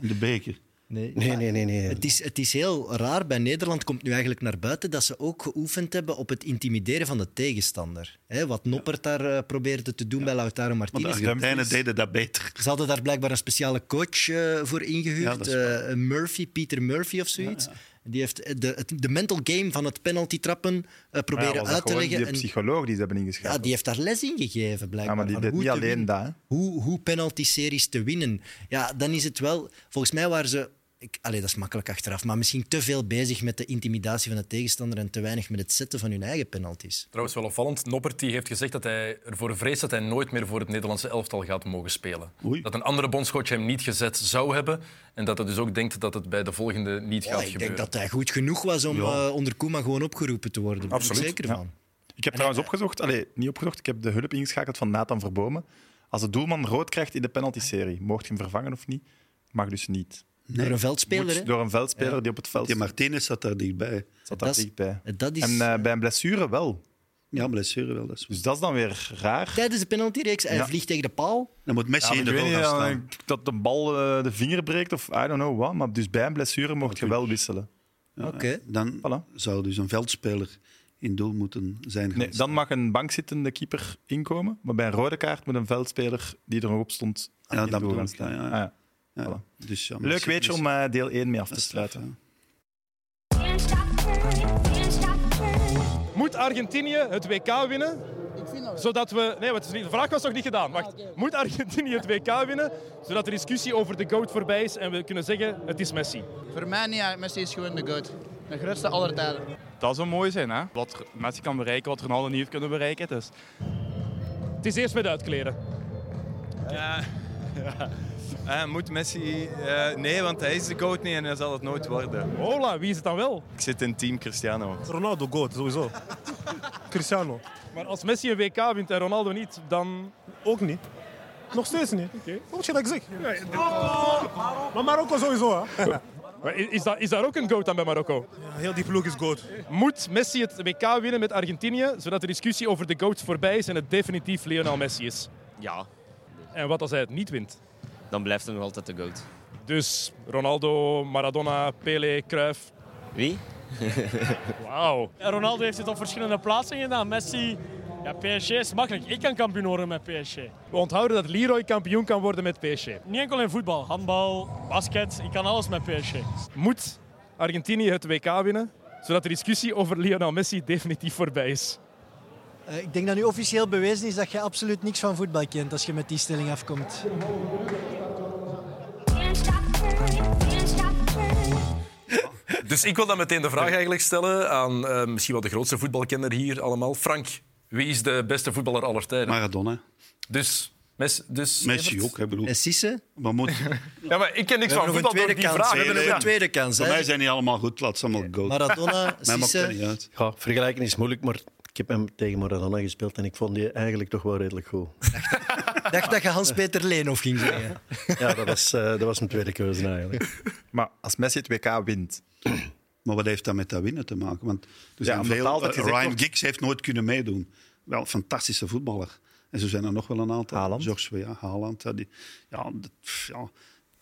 S5: De beker.
S6: Nee.
S4: Nee, nee, nee. nee.
S6: Het is, het is heel raar. Bij Nederland komt nu eigenlijk naar buiten dat ze ook geoefend hebben op het intimideren van de tegenstander. Hè, wat Noppert daar eh, probeerde te doen bij Lautaro
S5: Want de
S6: Martinez.
S5: Argentijnen deden dat beter.
S6: Ze hadden daar blijkbaar een speciale coach eh, voor
S5: Ja,
S6: ingehuurd.
S5: dat is
S6: Eh, Murphy, Peter Murphy of zoiets. Die heeft de, het- de mental game van het penalty trappen eh,
S1: Maar ja,
S6: proberen
S1: was dat
S6: uit te
S1: gewoon
S6: leggen.
S1: Die
S6: En-
S1: psycholoog die ze hebben
S6: ja,
S1: ingeschakeld.
S6: die heeft daar les in gegeven, blijkbaar.
S1: Ja, maar die
S6: van
S1: deed
S6: hoe
S1: niet
S6: te
S1: alleen
S6: winnen,
S1: dat, hè?
S6: Hoe, hoe penalty-series te winnen. Ja, dan is het wel... Volgens mij waren ze... Ik, allee, dat is makkelijk achteraf, maar misschien te veel bezig met de intimidatie van de tegenstander en te weinig met het zetten van hun eigen penalties.
S7: Trouwens, wel opvallend. Noppert die heeft gezegd dat hij ervoor vreest dat hij nooit meer voor het Nederlandse elftal gaat mogen spelen.
S5: Oei.
S7: Dat een andere bondscoach hem niet gezet zou hebben. En dat hij dus ook denkt dat het bij de volgende niet
S6: Ja,
S7: gaat
S6: Oh, ik denk
S7: gebeuren.
S6: dat hij goed genoeg was om eh, onder Koeman gewoon opgeroepen te worden. Daar ben ik
S7: Absoluut,
S6: zeker van.
S1: Ik heb trouwens opgezocht, allee, niet opgezocht, ik heb de hulp ingeschakeld van Nathan Verbomen. Als de doelman rood krijgt in de penalty-serie, mocht je hem vervangen of niet? Mag dus niet.
S6: Door een veldspeler, hè?
S1: Moet door een veldspeler die op het veld
S5: Die
S1: zat,
S5: Martinez zat daar dichtbij.
S1: zat daar
S6: dat is-
S1: dichtbij.
S6: Dat is...
S1: En eh, bij een blessure wel.
S5: Ja, blessure wel. Dat is...
S1: Dus dat is dan weer raar.
S6: Tijdens de penaltyreeks, hij
S1: Ja.
S6: vliegt tegen de paal.
S5: Dan moet
S1: Ja,
S5: Messi
S1: maar
S5: in
S1: ik
S5: de
S1: weet
S5: goal
S1: niet,
S5: gaan
S1: dan,
S5: staan.
S1: eh, dat de bal eh, de vinger breekt of I don't know what. Maar dus bij een blessure mocht je wel wisselen.
S6: Oké.
S5: Dan
S1: Voilà.
S5: zou dus een veldspeler in doel moeten zijn.
S1: Nee,
S5: geweest.
S1: dan mag een bankzittende keeper inkomen, maar bij een rode kaart moet een veldspeler die er nog op stond aan
S5: Ja,
S1: het
S5: dat
S1: doel gaan
S5: bedoel ik, ja,
S1: staan.
S5: ja,
S1: Ah,
S5: ja.
S1: ja.
S5: Ja,
S1: voilà.
S5: dus ja,
S1: Leuk
S5: Messi-
S1: weetje
S5: Messi-
S1: om eh, deel 1 mee af te
S5: is straf,
S1: sluiten.
S3: Can't stop her, can't stop her,
S11: Moet Argentinië het WK winnen? Zodat we. Nee, wat is er niet- de vraag was nog niet gedaan. Wacht. Moet Argentinië het WK winnen? Zodat de discussie over de GOAT voorbij is en we kunnen zeggen: het is Messi.
S12: Voor mij niet, Messi is gewoon de goat. De grootste aller tijden.
S11: Dat zou mooi zijn, hè? Wat Messi kan bereiken, wat Ronaldo niet heeft kunnen bereiken. Dus. Het is eerst met uitkleden.
S13: Ja. Eh, moet Messi? eh, nee, want hij is de coach niet en hij zal het nooit worden.
S11: Hola, wie is het dan wel?
S13: Ik zit in team Cristiano.
S11: Ronaldo goat, sowieso. Cristiano. Maar als Messi een WK wint en Ronaldo niet, dan... Ook niet. Nog steeds niet. Wat je dat ik zeg? Oh! Maar Marokko sowieso, Is, dat, is daar ook een goat aan bij Marokko? heel die ploeg is goat. Moet Messi het WK winnen met Argentinië, zodat de discussie over de goat voorbij is en het definitief Lionel Messi is?
S14: Ja,
S11: En wat als hij het niet wint?
S14: dan blijft hij nog altijd de goat.
S11: Dus Ronaldo, Maradona, Pele, Cruyff. Wie? Wauw.
S15: Ronaldo heeft het op verschillende plaatsen gedaan. Messi, ja, PSG is makkelijk. Ik kan kampioen worden met PSG.
S11: We onthouden dat Leroy kampioen kan worden met PSG.
S15: Niet enkel in voetbal, handbal, basket. Ik kan alles met PSG.
S11: Moet Argentinië het WK winnen, zodat de discussie over Lionel Messi definitief voorbij is?
S2: Eh, ik denk dat nu officieel bewezen is dat je absoluut niks van voetbal kent als je met die stelling afkomt.
S3: can't stop her, can't stop her.
S7: Dus ik wil dan meteen de vraag eigenlijk stellen aan eh, misschien wel de grootste voetbalkenner hier allemaal. Frank, wie is de beste voetballer aller tijden?
S5: Maradona.
S7: Dus, mes, dus
S5: Messi
S7: Evert?
S5: ook, hè, bedoel.
S6: En Sisse?
S5: Maar moet...
S7: Ja, maar ik ken niks van voetbal door die vraag. Ja.
S5: Voor mij zijn die allemaal goed, laat ze allemaal goat. Mij maakt
S6: eh,
S5: dat niet uit.
S4: Ja, vergelijken is moeilijk, maar ik heb hem tegen Maradona gespeeld en ik vond die eigenlijk toch wel redelijk goed.
S6: Dacht dat je Hans-Peter Leenhoff ging zeggen.
S4: Ja, dat was, eh, dat was mijn tweede keuze eigenlijk.
S1: Maar als Messi het WK wint...
S5: Maar wat heeft dat met dat winnen te maken? Want er zijn
S1: omdat het
S5: veel,
S1: altijd
S5: eh,
S1: gezegd
S5: Ryan
S1: wordt-
S5: Giggs heeft nooit kunnen meedoen. Wel, een fantastische voetballer. En zo zijn er nog wel een aantal. Haaland. George Weah, Haaland. Ja, die, ja, dat- pff, ja.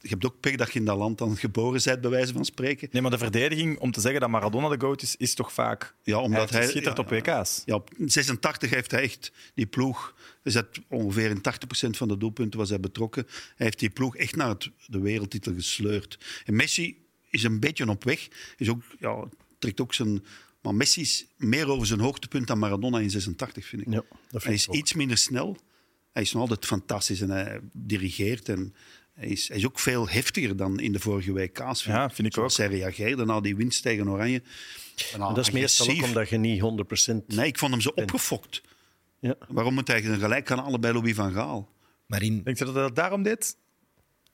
S5: je hebt ook pech dat je in dat land dan geboren bent, bij wijze van spreken.
S1: Nee, maar de verdediging om te zeggen dat Maradona de GOAT is, is toch vaak...
S5: Ja,
S1: hij
S5: omdat
S1: heeft
S5: hij
S1: geschitterd
S5: ja,
S1: op WK's.
S5: Ja, op 86 heeft hij echt die ploeg. Dus dat ongeveer in 80% van de doelpunten was hij betrokken. Hij heeft die ploeg echt naar het, de wereldtitel gesleurd. En Messi is een beetje op weg. Is ook, ja, trekt ook zijn. Maar Messi is meer over zijn hoogtepunt dan Maradona in 86, vind ik. hij is iets minder snel. Hij is nog altijd fantastisch en hij dirigeert. En hij, is, hij is ook veel heftiger dan in de vorige WK's. Ja, vind ik ook. Hij reageerde na die winst tegen Oranje.
S4: Maar dat is meestal ook
S5: Agressief.
S4: omdat je niet 100%
S5: Nee, ik vond hem zo opgefokt. Waarom moet hij dan gelijk aan allebei Louis van Gaal?
S6: Marien.
S1: Denk je dat hij dat daarom deed?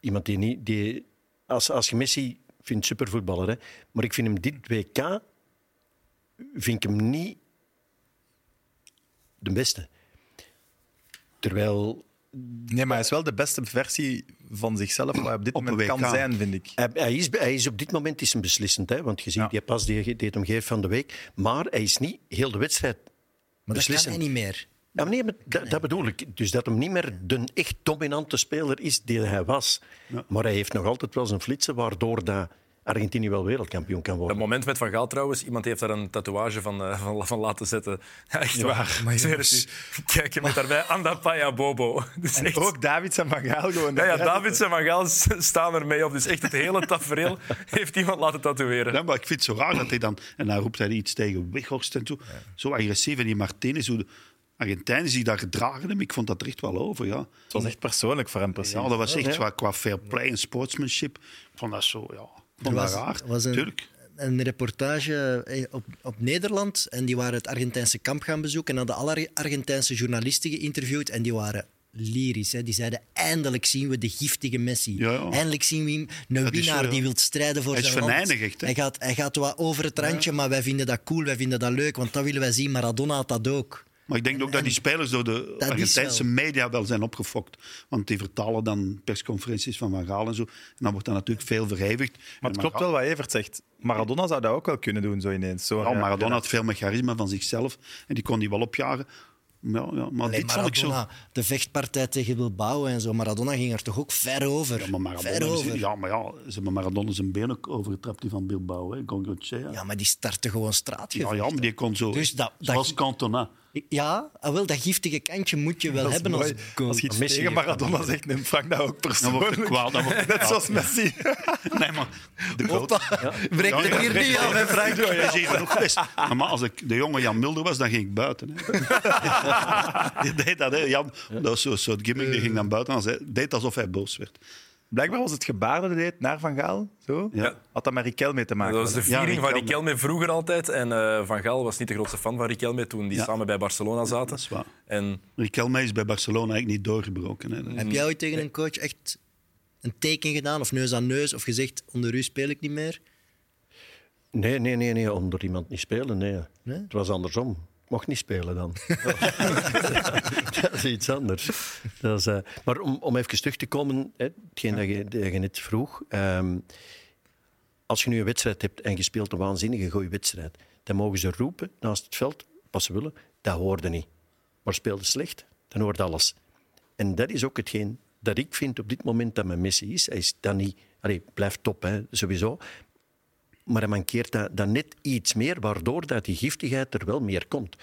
S4: Iemand die niet... Die, als, als je Messi vindt supervoetballer, hè, maar ik vind hem dit WK... Vind ik hem niet de beste. Terwijl...
S1: Nee, maar hij is wel de beste versie van zichzelf waar hij op dit
S4: Op een
S1: moment kan
S4: WK.
S1: zijn, vind ik.
S4: Hij, hij is, hij is op dit moment is hem beslissend, hè, want je ziet die pas die hij die het hem geeft van de week. Maar hij is niet heel de wedstrijd
S6: Maar dat kan
S4: beslissend.
S6: hij niet meer.
S4: Ja, maar nee, maar dat, dat bedoel ik. Dus dat hem niet meer de echt dominante speler is die hij was. Maar hij heeft nog altijd wel zijn flitsen, waardoor dat Argentinië wel wereldkampioen kan worden.
S7: Het moment met Van Gaal trouwens, iemand heeft daar een tatoeage van, eh, van, van laten zetten. Ja, echt
S1: Ja,
S7: waar.
S1: maar
S7: Serieus. Kijk, je met daarbij Andapaya Bobo. Dus
S1: En
S7: echt-
S1: ook Davids en Van Gaal gewoon.
S7: Ja, ja, Davids en Van Gaal s- staan er mee op. Dus echt het hele tafereel heeft iemand laten tatoeëren.
S5: Ja, maar ik vind het zo raar dat hij dan... En dan roept hij iets tegen Weghorst en zo. Zo agressief. En die Martinez, hoe de Argentijnen zich daar gedragen hebben. Ik vond dat er echt wel over, ja.
S1: Het was echt persoonlijk voor hem, precies.
S5: Ja, dat was echt
S1: Ja.
S5: qua- qua fair play en sportsmanship. Ik vond dat zo, ja... Ik vond dat raar.
S6: was een,
S5: Tuurlijk.
S6: een reportage eh, op, op Nederland en die waren het Argentijnse kamp gaan bezoeken en hadden alle Ar- Argentijnse journalisten geïnterviewd en die waren lyrisch. Hè. Die zeiden, eindelijk zien we de giftige Messi. Eindelijk zien we hem, een
S5: Dat is
S6: winnaar
S5: zo, ja.
S6: die wil strijden voor
S5: Hij is
S6: zijn land.
S5: venijnigd, hè?
S6: Hij gaat, hij gaat wat over het randje, maar wij vinden dat cool, wij vinden dat leuk, want dat willen wij zien. Maradona had dat ook.
S5: Maar ik denk ook dat die spelers door de
S6: is
S5: Argentijnse
S6: wel.
S5: media wel zijn opgefokt. Want die vertalen dan persconferenties van Van Gaal en zo. En dan wordt dat natuurlijk veel verhevigd.
S1: Maar het klopt wel wat Evert zegt. Maradona zou dat
S5: Oh,
S1: ook wel kunnen doen, zo ineens. Zo,
S5: Ja, Maradona had veel meer charisma van zichzelf. En die kon die wel opjagen. Ja, ja, maar
S6: Allee,
S5: dit vond ik zo...
S6: Maradona, De vechtpartij tegen Bilbao en zo. Maradona ging er toch ook ver over. Ja, maar ver
S5: Maradona is-
S6: over.
S5: Ja, maar ja, ze hebben Maradona zijn been ook overgetrapt, die van Bilbao. Hè. Gogochea.
S6: Ja, maar die startte gewoon straatgevecht.
S5: Ja, ja, maar die kon zo...
S6: Dus dat- dat-
S5: zoals Cantona.
S6: Ja, ah, wel, dat giftige kantje moet je wel
S5: Dat is
S6: hebben
S5: mooi.
S6: als goal.
S5: Als je iets Messi tegen heeft Maradona dat. zegt,
S1: neem Frank dat ook
S5: Dan wordt hij kwaad. Dan wordt hij kwaad. Nee, maar... De Opa,
S6: breek de hier niet af, hè, Frank.
S5: Dat is hier genoeg les. Maar maar als ik de jonge Jan Mulder was, dan ging ik buiten. Hè. Die deed dat, hè. Jan, dat was zo'n soort gimmick, die ging dan buiten en zei- deed alsof hij boos werd.
S1: Blijkbaar was het gebaar dat hij deed naar Van Gaal. Zo. Had dat met Riquel mee te maken.
S7: Dat was de
S1: Ja,
S7: viering van
S1: Riquelme.
S7: Riquelme vroeger altijd. En eh, Van Gaal was niet de grootste fan van Riquelme toen die
S5: Ja.
S7: samen bij Barcelona zaten.
S5: Dat is waar.
S7: En
S5: Riquelme is bij Barcelona eigenlijk niet doorgebroken. Hè. Dat-
S6: Heb jij ooit
S5: Mm.
S6: tegen een coach echt een teken gedaan, of neus aan neus, of gezegd: onder u speel ik niet meer?
S4: Nee, nee, nee, nee, onder iemand niet spelen. Nee.
S6: Nee?
S4: Het was andersom. Ik mocht niet spelen dan. dat is iets anders. Dat is, eh, maar om, om even terug te komen, hè, hetgeen dat je, dat je net vroeg. ehm, als je nu een wedstrijd hebt en je speelt een waanzinnige goede wedstrijd, dan mogen ze roepen naast het veld, wat ze willen, dat hoorde niet. Maar speelde slecht, dan hoort alles. En dat is ook hetgeen dat ik vind op dit moment dat mijn missie is. Hij is dan niet... Allee, blijft top, hè, sowieso. Maar hij mankeert dat, dat net iets meer, waardoor dat die giftigheid er wel meer komt.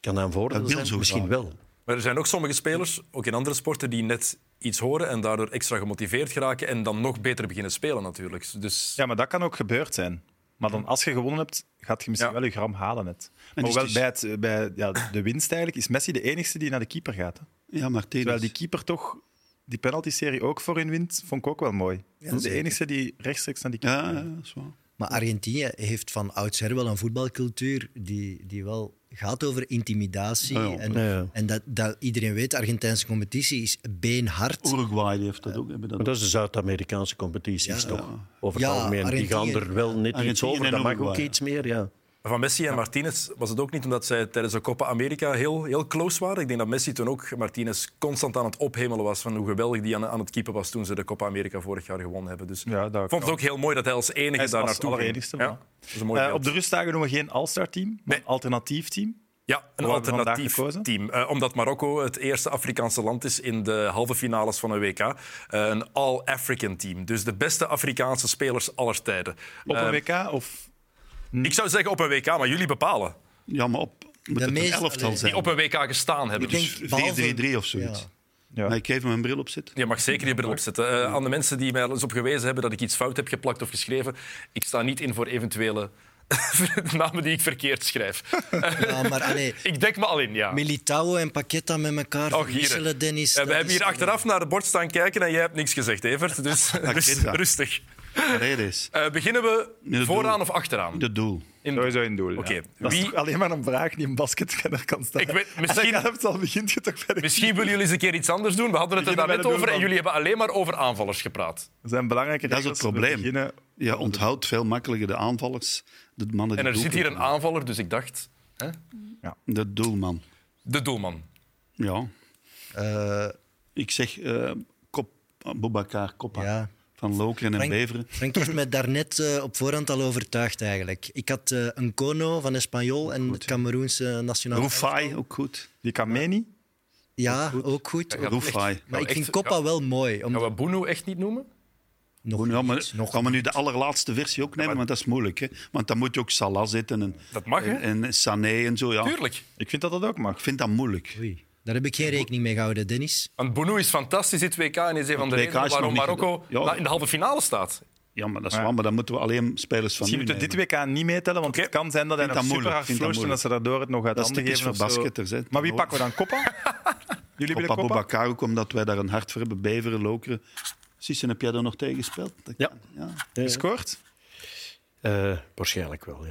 S4: Kan dat een voordeel
S7: Dat wil
S4: zijn?
S7: zo
S4: Misschien
S7: graag.
S4: wel.
S7: Maar er zijn ook sommige spelers, ook in andere sporten, die net iets horen en daardoor extra gemotiveerd geraken en dan nog beter beginnen spelen natuurlijk. Dus
S1: Ja, maar dat kan ook gebeurd zijn. Maar dan, als je gewonnen hebt, gaat je misschien wel je gram halen. Het. Maar
S5: dus
S1: wel
S5: het
S1: bij, het, eh, bij ja, de winst eigenlijk is Messi de enige die naar de keeper gaat. Hè.
S5: Ja, maar
S1: Terwijl die keeper toch die penalty-serie ook voor hun wint, vond ik ook wel mooi. Dat is de
S6: zeker.
S1: enige die rechtstreeks naar die keeper gaat.
S5: is waar.
S6: Maar Argentinië heeft van oudsher wel een voetbalcultuur die, die wel gaat over intimidatie.
S5: Ah, Ja, ja.
S6: en
S5: Ja, ja.
S6: en dat, dat iedereen weet, de Argentijnse competitie is beenhard.
S5: Uruguay heeft dat ook. Hebben dat
S6: Maar
S4: Dat is de Zuid-Amerikaanse competitie,
S6: Ja.
S4: toch? Over
S6: Ja,
S4: het algemeen. Die gaan
S6: Argentinië.
S4: er wel net iets
S7: Argentinië
S4: over.
S7: en
S4: Dat mag ook
S7: Uruguay.
S4: iets meer, ja.
S7: Van Messi en Martinez was het ook niet omdat zij tijdens de Copa America heel, heel close waren. Ik denk dat Messi toen ook Martinez constant aan het ophemelen was van hoe geweldig die aan, aan het keeper was toen ze de Copa America vorig jaar gewonnen hebben. Dus ik vond het ook heel mooi dat hij als enige
S1: Hij is
S7: daar
S1: als
S7: naartoe ging.
S1: allerenigste,
S7: Ja,
S1: voilà.
S7: dat is een mooi
S1: Eh,
S7: beeld.
S1: op de rustdagen doen we geen All-Star-team, maar een alternatief team.
S7: Ja, een
S1: Hoe hebben we vandaag
S7: alternatief team. Eh, omdat Marokko het eerste Afrikaanse land is in de halve finales van een WK. Eh, een all-African team. Dus de beste Afrikaanse spelers aller tijden.
S1: Op
S7: Eh,
S1: een WK of... Hm.
S7: ik zou zeggen op een WK, maar jullie bepalen.
S5: Ja, maar op, moet
S7: De
S5: het een
S7: meest-
S5: elftal zijn.
S7: Die op een WK gestaan hebben.
S5: Dus 4-3-3 of zoiets. Maar ik geef hem een bril op zitten.
S7: Je mag zeker je bril opzetten. Eh, aan de mensen die mij al eens op gewezen hebben dat ik iets fout heb geplakt of geschreven, ik sta niet in voor eventuele namen die ik verkeerd schrijf.
S6: Ja, maar allee,
S7: Ik dek me al in, ja.
S6: Militao en Paqueta met elkaar
S7: Och, hier.
S6: verwisselen, Dennis.
S7: Eh, we
S6: dat
S7: hebben
S6: is-
S7: hier achteraf naar het bord staan kijken en jij hebt niks gezegd, Evert. Dus rust-
S5: dat.
S7: rustig.
S5: Paredes.
S7: Eh, beginnen we
S5: het
S7: vooraan
S5: doel.
S7: of achteraan?
S5: De doel.
S1: Sowieso in doel.
S7: Oké,
S1: Dat is
S7: wie-
S1: toch alleen maar een vraag die een basketkenner kan stellen.
S7: Ik weet- misschien-
S1: Als je het al begint je toch bij de
S7: Misschien willen jullie eens een keer iets anders doen. We hadden het er
S1: Beginnen
S7: daarnet
S1: bij de
S7: over
S1: doelman.
S7: en jullie hebben alleen maar over aanvallers gepraat.
S1: Er zijn belangrijke
S5: Dat is het
S1: regels. We
S5: probleem.
S1: beginnen-
S5: Je onthoudt veel makkelijker de aanvallers, de mannen die
S7: En er zit hier
S5: doelpunten
S7: een aanvaller, dus ik dacht... Hè?
S5: maken. De doelman.
S7: De doelman.
S5: Ja. ik zeg eh kop, Boubacar Koppa van Lokeren en
S6: Frank-
S5: Beveren.
S6: Frank heeft mij daarnet eh, op voorhand al overtuigd eigenlijk. Ik had eh, een Kono van Espanyol en het Cameroense nationaal.
S5: Rufai, ook goed.
S1: Die Kameni?
S6: Ja, ook goed.
S5: Ja, Rufai.
S6: Ook echt. Maar
S5: Nou,
S6: ik
S5: echt-
S6: vind Coppa wel mooi. Omdat...
S7: Gaan we Bunu echt niet noemen?
S6: Nog
S5: ja, nou, maar, gaan we nu de allerlaatste versie ook nemen? Want dat is moeilijk. Hè? Want dan moet je ook Salah zitten en,
S7: dat mag, hè?
S5: en, en Sané en zo. Ja.
S7: Tuurlijk.
S1: Ik vind dat dat ook mag. Ik
S5: vind dat moeilijk.
S6: Daar heb ik geen rekening mee gehouden, Dennis.
S7: Want Bunu is fantastisch, dit WK, en is een van de
S5: WK is
S7: redenen
S5: nog
S7: waarom
S5: niet
S7: Marokko
S5: gedaan. Ja.
S7: na- in de halve finale staat.
S5: Ja, maar dat is waar, maar dan moeten we alleen spelers van
S1: Misschien
S5: nu
S1: moeten we dit
S5: nemen.
S1: WK niet meetellen, want het kan zijn dat hij
S5: Vind
S1: nog super
S5: dat moeilijk,
S1: hard
S5: vind dat
S1: floot en dat
S5: moeilijk.
S1: ze daardoor het nog gaat
S5: Dat is
S1: handen
S5: typisch
S1: geven.
S5: voor
S1: of zo.
S5: basketters. Hè?
S1: Maar wie pakken we dan? Koppa? Jullie willen
S5: Koppa
S1: Koppa?
S5: Boubacar ook, omdat wij daar een hart voor hebben. Beveren, Lokeren. Sissen, heb jij daar nog tegen gespeeld? Dat- Ja.
S1: Gescoord?
S4: Eh, waarschijnlijk wel, ja.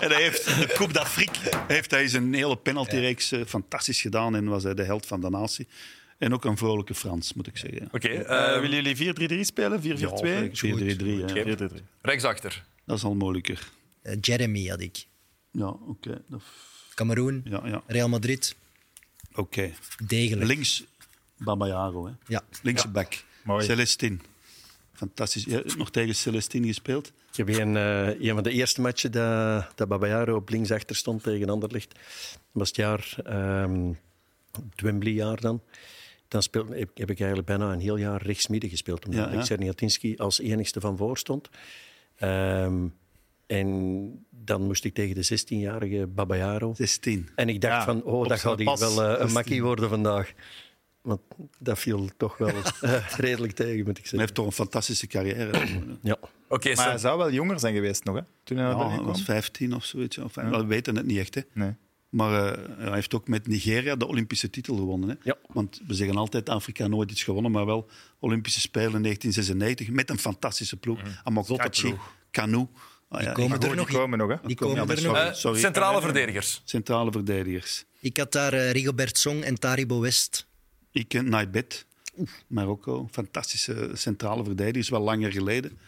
S5: En hij heeft de Coupe d'Afrique heeft hij zijn hele penaltyreeks eh, fantastisch gedaan en was hij de held van de natie. En ook een vrolijke Frans, moet ik zeggen.
S7: Oké,
S1: Eh,
S7: eh,
S1: willen jullie 4-3-3 spelen? 4-4-2?
S5: Ja, 4-3-3. hè.
S7: Oké. Rechtsachter.
S5: Dat is al moeilijker.
S6: Eh, Jeremy had ik.
S5: Ja, oké. Dat-
S6: Cameroen,
S5: Ja, ja.
S6: Real Madrid.
S5: Oké.
S6: Degelijk.
S5: Links Babayaro, hè?
S6: Ja.
S5: Linkse bek.
S1: Mooi.
S5: Celestine. Fantastisch. Je hebt nog tegen Celestine gespeeld.
S4: Ik heb een, eh, een van de eerste matchen dat, dat Babayaro op linksachter stond tegen Anderlecht. Dat was het jaar, ehm het Wembley-jaar dan. Dan speel, heb, heb ik eigenlijk bijna een heel jaar rechtsmidden gespeeld. Omdat
S5: Ja, ja.
S4: ik Serniatinski als enigste van voor stond. Ehm, en dan moest ik tegen de 16-jarige Babayaro.
S5: 16.
S4: En ik dacht
S5: Ja,
S4: van,
S5: op
S4: oh, dat
S5: zijn
S4: gaat hier
S5: pas,
S4: wel eh, een
S5: 16.
S4: makkie worden vandaag. Want dat viel toch wel eh, redelijk tegen, moet ik zeggen. Hij
S5: heeft toch een fantastische carrière.
S4: ja.
S7: Oké,
S1: maar hij zou wel jonger zijn geweest nog, hè? Toen hij naar
S5: Ja,
S1: België
S5: hij
S1: kwam.
S5: was 15 of zoiets. Of,
S1: Ja.
S5: We weten het niet echt, hè.
S1: Nee.
S5: Maar eh, hij heeft ook met Nigeria de Olympische titel gewonnen. Hè? Want we zeggen altijd Afrika nooit iets gewonnen, maar wel Olympische Spelen in 1996 met een fantastische ploeg.
S1: Mm.
S5: Amokachi, Kanu. Ah, ja,
S6: komen
S5: ik-
S6: er nog, die- die komen
S5: maar
S6: er
S5: sorry,
S6: nog.
S5: sorry.
S6: Eh, centrale
S5: Ja, ja, ja.
S6: verdedigers.
S5: Centrale verdedigers.
S6: Ik had daar eh, Rigobert Song en Taribo West.
S5: Ik eh, ken Naibet, Marokko. Fantastische centrale verdedigers, wel langer geleden.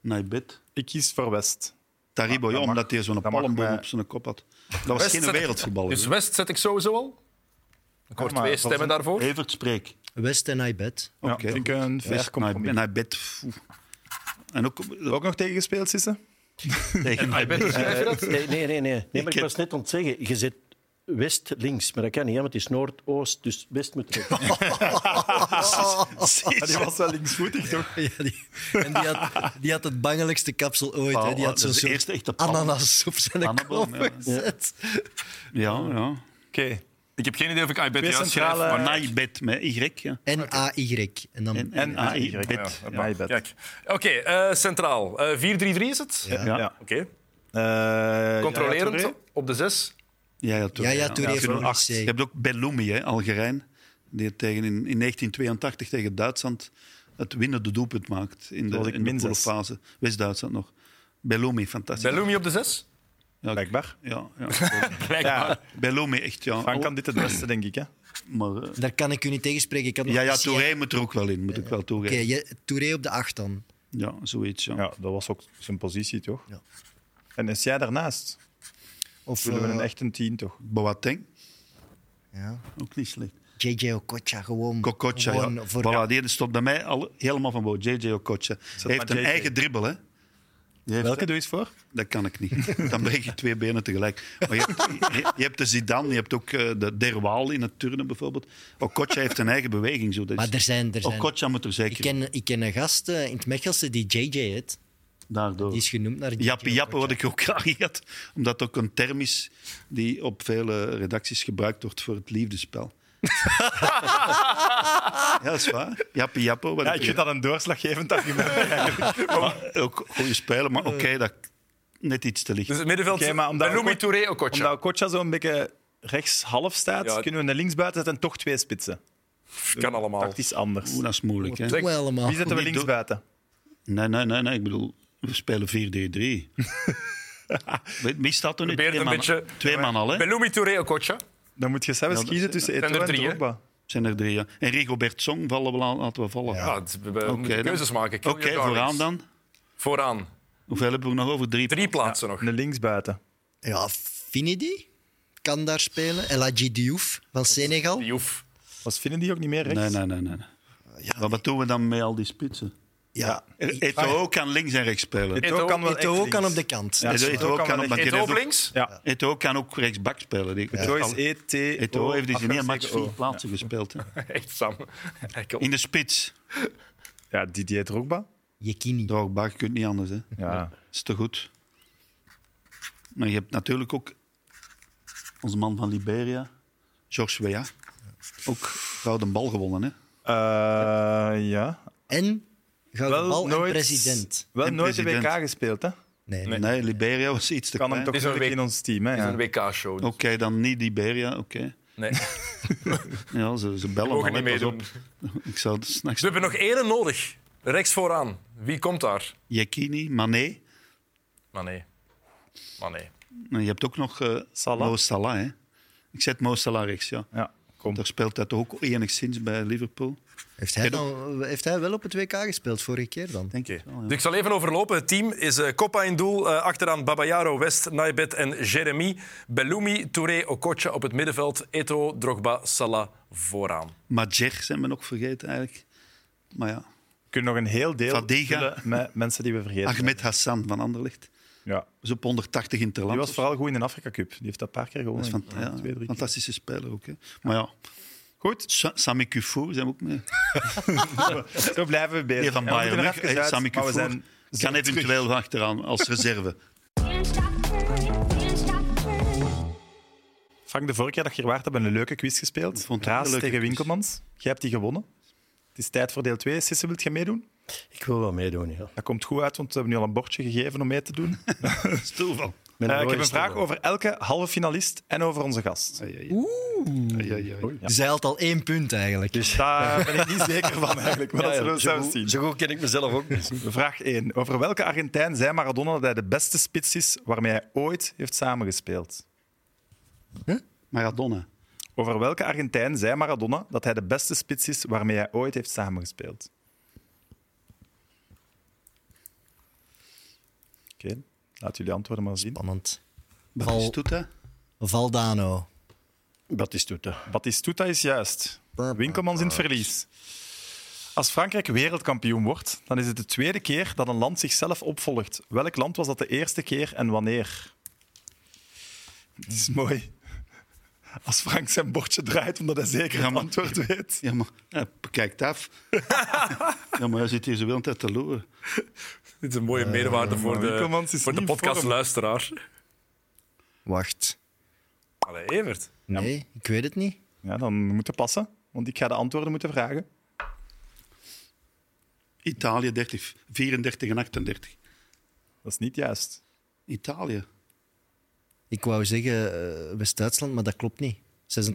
S5: Naibet.
S1: Ik kies voor West.
S5: Taribo, ja, omdat hij zo'n palmboom
S1: eh,
S5: op zijn kop had. Dat was
S7: West
S5: geen
S7: zet ik-
S5: wereldvoetballer.
S7: Dus
S5: hè.
S7: West zet ik sowieso al. Ik hoor twee stemmen daarvoor.
S5: Evert, spreek.
S6: West en Ibet.
S5: Oké.
S1: vind ik eh, een fair compromis.
S5: En Ibet. En ook, eh,
S1: ook nog tegengespeeld, Sisse? Ah,
S5: Tegen
S4: Eh, nee, nee, nee, nee. nee maar ik was net aan het zeggen, je zit west links, maar dat kan niet, hè, want het is noordoost, dus west moet rechts.
S1: Maar die was wel linksvoetig, toch?
S6: Ja, die, en die had, die had het bangelijkste kapsel ooit. hè. Die had zo'n
S5: Dat is de
S6: soort
S5: eerste echte pan-
S6: ananas op zijn
S5: pannenboom,
S6: kop
S5: ja.
S6: gezet.
S5: Ja, ja. Oké.
S7: Ik heb geen idee of ik Ibet
S5: Twee
S7: juist schrijf.
S5: centrale-
S7: Maar
S5: Maar Naibet met Y. Ja.
S6: N-A-Y. En dan...
S5: N-A-I-B.
S1: Ah, Ja,
S7: Kijk. Oké, eh, centraal. Eh, 4-3-3 is het?
S1: Ja. Ja. Eh,
S7: Oké. Controlerend op de 6.
S5: Ja, ja, Touré.
S6: Ja, ja, Touré van
S5: Touré.
S6: NEC.
S5: Je hebt ook Belloumi, hè, Algerijn, die het tegen in, in 1982 tegen Duitsland het winnende doelpunt maakt in
S1: Dat
S5: de,
S1: was ik
S5: in de
S1: min zes.
S5: poolfase. West-Duitsland nog. Belloumi, fantastisch.
S7: Bellumi op de 6?
S5: Ja, Blijkbaar. Ja, ja.
S7: Blijkbaar.
S5: Ja, Belloumi, echt, ja. Oh,
S1: Frank kan dit het beste, denk ik. Hè?
S5: Maar, eh,
S6: Daar kan ik u niet tegenspreken. Ik had nog
S5: ja, ja,
S6: gezien-
S5: Touré moet er ook wel in, moet ik wel
S6: Eh, Oké,
S5: toegeven.
S6: je- Touré op de 8 dan.
S5: Ja, zoiets, ja.
S1: Ja, dat was ook zijn positie, toch?
S6: Ja.
S1: En is jij daarnaast?
S6: Of
S1: Willen we
S6: eh,
S1: een echte tien, toch?
S5: Boateng,
S6: ja.
S5: ook niet slecht.
S6: JJ Okocha gewoon.
S5: Kokocha,
S6: gewoon
S5: ja.
S6: voor-
S5: Voilà, die stond bij mij al helemaal van boven. JJ Okocha. Hij heeft
S1: maar
S5: een
S1: JJ.
S5: eigen dribbel, hè. Die heeft-
S1: Welke doe je eens voor?
S5: Dat kan ik niet. Dan breek ik twee benen tegelijk. Maar je hebt, je, je hebt de Zidane, je hebt ook eh, de Derwaal in het turnen bijvoorbeeld. Okocha heeft een eigen beweging. Zo. Dat is-
S6: Maar er zijn... Er zijn
S5: Okocha moet er
S6: ik,
S5: zeker
S6: ken, ik ken een gast eh, in het Mechelse die JJ heet.
S5: daardoor.
S6: Die is genoemd naar JJ
S5: Jappie Jappe
S6: Okocha.
S5: word ik ook graag gehad. Omdat dat ook een term is die op vele redacties gebruikt wordt voor het liefdespel. ja, dat is waar. Jappie Jappe. word
S1: Ja, ik vind dat een doorslaggevend argument.
S5: Ook goede speler, maar oké, dat net iets te licht.
S7: Dus het middenveld.
S1: Oké, maar omdat
S7: Bellumi,
S1: Okocha-
S7: Touré, Okocha.
S1: Omdat Okocha zo'n beetje rechts half staat,
S7: Ja.
S1: kunnen we een linksbuiten zetten en toch twee spitsen.
S7: Kan allemaal.
S1: Tactisch anders.
S5: Oeh, dat is moeilijk. Hè?
S6: Doen we allemaal.
S1: Wie zetten we
S5: Niet
S1: linksbuiten?
S5: Nee, nee, nee, nee. Ik bedoel, we spelen 4-3-3. Wie- Wie staat er nu?
S7: Probeer het
S5: Twee
S7: een
S5: man,
S7: beetje-
S5: twee man al, hè?
S7: Bellumi, Touré, Okocha.
S1: Dan moet je
S5: Ja,
S1: zelfs
S5: dat-
S1: kiezen tussen
S7: zijn er
S1: Eto'o en
S7: drie, hè?
S1: Drogba.
S5: zijn er drie, ja. En Rigobert Song vallen we aan, laten we vallen.
S7: Ja, Ah, het- we we
S5: Oké,
S7: moeten
S5: dan.
S7: keuzes maken.
S5: Oké,
S7: Kill your darlings.
S5: vooraan dan.
S7: Vooraan.
S5: Hoeveel hebben we nog over? Drie.
S7: Drie plaatsen nog.
S1: Een linksbuiten.
S6: Ja, Finidi kan daar spelen. Eladji Diouf van Senegal.
S7: Diouf.
S1: Was vinden die ook niet meer rechts?
S5: Nee, nee, nee. nee. nee. maar wat doen we dan met al die spitsen?
S6: Ja.
S5: E- Eto'o kan links en rechts spelen.
S1: Eto'o kan wel echt
S6: Eto'o kan
S1: links.
S6: op de kant.
S1: Ja,
S5: Eto'o
S1: Eto'o
S5: kan
S1: kan
S5: op-
S1: wel echt links.
S5: Eto'o
S7: Eto'o op links.
S1: Ja.
S5: Eto'o kan ook rechtsbak spelen. Die-
S1: Eto'o is E-T-O.
S5: Eto'o heeft dus in één match
S1: afgezeken
S5: vier
S1: O.
S5: plaatsen gespeeld. hè.
S7: Echt Sam. Eikel.
S5: In de spits.
S1: Ja, Didier Drogba.
S6: Jekini.
S5: Drogba, je kunt niet anders. Hè.
S1: Ja.
S5: is te goed. Maar je hebt natuurlijk ook onze man van Liberia, George Weah. Ook gouden bal gewonnen, hè?
S1: Eh, ja.
S6: En gouden bal en president.
S1: Wel
S5: En
S1: nooit de WK
S5: president.
S1: gespeeld, hè?
S6: Nee,
S5: Nee, Liberia was iets te
S1: Kan hem
S5: klein.
S1: toch
S7: is een
S1: moeilijk
S7: week-
S1: in ons team, hè?
S7: Het is een
S1: Ja.
S7: WK-show.
S5: Oké, dan niet Liberia, oké.
S7: Nee, we
S5: Ja, ze, ze bellen
S7: mogen
S5: al,
S7: niet
S5: hè, Oh, pas
S7: meedoen.
S5: op. Ik zou het s'nachts...
S7: Ze hebben nog één nodig. Rechts vooraan. Wie komt daar?
S5: Jekini, Mané.
S7: Maar nee. Maar nee.
S5: En je hebt ook nog eh
S1: Salah.
S5: Mo Salah, hè? Ik zet Mo Salah rechts, ja.
S1: Ja, kom.
S5: Daar speelt hij toch ook enigszins bij Liverpool?
S6: Heeft hij, dan, heeft hij wel op het WK gespeeld vorige keer dan?
S5: Denk
S7: Oké.
S5: ik wel, ja.
S7: Dus ik zal even overlopen. Het team is eh, Coppa in doel. eh, achteraan Babayaro, West, Naibet en Jeremy. Bellumi, Touré, Okocha op het middenveld. Eto, Drogba, Salah vooraan.
S5: Majer zijn we nog vergeten, eigenlijk. Maar ja,
S1: kunnen nog een heel deel
S5: Fadiga.
S1: vullen met mensen die we vergeten.
S5: Ahmed Hassan van Anderlecht.
S1: Ja.
S5: Zo op 180 interland.
S1: Die was vooral goed in de Afrika Cup. Die heeft dat een paar keer gewonnen.
S5: Dat is fant-
S1: Ik-
S5: ja,
S1: twee, drie keer.
S5: fantastische speler ook. Hè. Maar ja. Goed. Sami Kufour zijn we ook mee.
S1: Zo blijven we bezig.
S5: Nee, van
S1: Ja, we moeten er
S5: Bayern. hè.
S1: even
S5: Hey,
S1: uit, maar
S5: Sami
S1: we
S5: Kufour
S1: zijn zo
S5: kan eventueel achteraan als reserve.
S1: Frank, de vorige keer dat je hier waart, hebben we een leuke quiz gespeeld.
S5: vond het een
S1: Raas
S5: leuke
S1: tegen Winkelmans. Jij hebt die gewonnen. Het is tijd voor deel 2. Sisse, wilt jij meedoen?
S4: Ik wil wel meedoen, ja.
S1: Dat komt goed uit, want we hebben nu al een bordje gegeven om mee te doen.
S5: Stil van.
S1: Eh, ik heb
S4: rode
S1: een vraag
S4: stoel.
S1: over elke halve finalist en over onze gast.
S6: Oeh. Dus hij had al één punt eigenlijk.
S1: Dus daar ben ik niet zeker van eigenlijk. Maar
S4: Ja,
S1: dat
S4: ja,
S1: zullen we
S4: zo
S1: zelf
S4: goed-
S1: zien.
S4: zo goed ken ik mezelf ook niet.
S1: Vraag 1. Over welke Argentijn zei Maradona dat hij de beste spits is waarmee hij ooit heeft samengespeeld?
S5: Maradona.
S1: Over welke Argentijn zei Maradona dat hij de beste spits is waarmee hij ooit heeft samengespeeld? Oké, laat jullie antwoorden maar zien.
S6: Spannend.
S5: Batistuta?
S6: Valdano.
S4: Batistuta.
S1: Batistuta is juist. Winkelmans in het verlies. Als Frankrijk wereldkampioen wordt, dan is het de tweede keer dat een land zichzelf opvolgt. Welk land was dat de eerste keer en wanneer? Het is mooi. Als Frank zijn bordje draait omdat hij zeker
S5: Ja,
S1: een
S5: maar-
S1: antwoord weet.
S5: Ja, maar ja, bekijk het af. ja, maar hij zit hier zo wel een tijd te loeren.
S7: Dit is een
S5: Eh,
S7: mooie meerwaarde voor de,
S1: Winkelmans is
S7: voor de
S1: niet
S7: podcastluisteraar.
S6: Wacht.
S7: Allee, Evert.
S6: Nee, ik weet het niet.
S1: Ja, dan moet het passen, want ik ga de antwoorden moeten vragen.
S5: Italië 30, 34 en 38.
S1: Dat is niet juist.
S5: Italië.
S6: Ik wou zeggen eh, West-Duitsland, maar dat klopt niet. 86,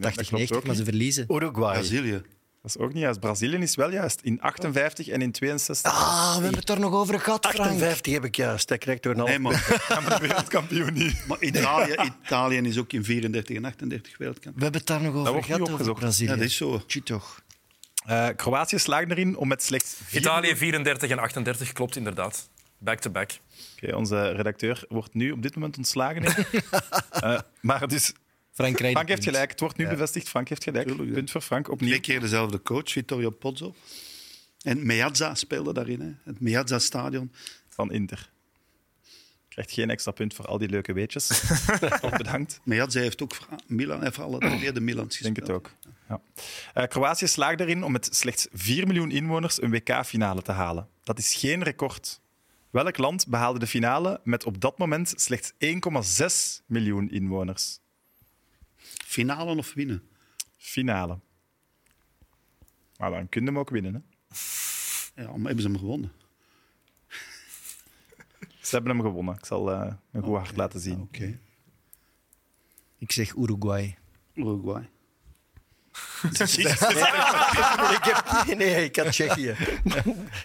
S1: Ja, dat klopt
S6: 90,
S1: ook
S6: maar ze
S1: niet.
S6: verliezen.
S4: Uruguay.
S5: Brazilië.
S1: Dat is ook niet juist. Brazilië is wel juist. In 58 en in 62.
S6: Ah, we hebben het er nog over gehad, Frank.
S4: 58 heb ik juist. Dat krijgt door een half
S5: Nee, maar,
S1: Ja, maar de wereldkampioen niet.
S5: maar Italië, Italië is ook in 34 en 38 wereldkampioen.
S6: We hebben het daar nog over
S1: wordt nu
S6: gehad, over
S1: opgezocht.
S6: Brazilië.
S5: Ja, dat is zo.
S6: Tjie toch.
S1: Eh, Kroatië slaagde erin om met slechts vier...
S7: Italië 34 en 38, klopt inderdaad. Back-to-back.
S1: Oké, onze redacteur wordt nu op dit moment ontslagen. denk ik. Eh, maar dus,
S6: Frank krijgt
S1: Frank heeft
S6: het
S1: gelijk. Het wordt nu bevestigd. Frank heeft gelijk. Punt voor Frank. Opnieuw.
S5: Twee keer dezelfde coach, Vittorio Pozzo. En Meazza speelde daarin, hè. het Meazza-stadion.
S1: van Inter. Krijgt geen extra punt voor al die leuke weetjes. Toch bedankt.
S5: Meazza heeft ook voor Milan, heeft voor alle twee de Milans
S1: Ik denk
S5: gespeeld.
S1: het ook. Ja. Eh, Kroatië slaagde erin om met slechts 4 miljoen inwoners een WK-finale te halen. Dat is geen record. Welk land behaalde de finale met op dat moment slechts 1,6 miljoen inwoners?
S5: Finalen of winnen?
S1: Finale. Maar dan kunnen we hem ook winnen. Hè?
S5: Ja, maar hebben ze hem gewonnen?
S1: Ze hebben hem gewonnen. Ik zal eh, een goed hart laten zien.
S5: Ah, Oké.
S6: Ik zeg Uruguay.
S5: Uruguay.
S4: ik heb, nee, nee, ik had Tsjechië.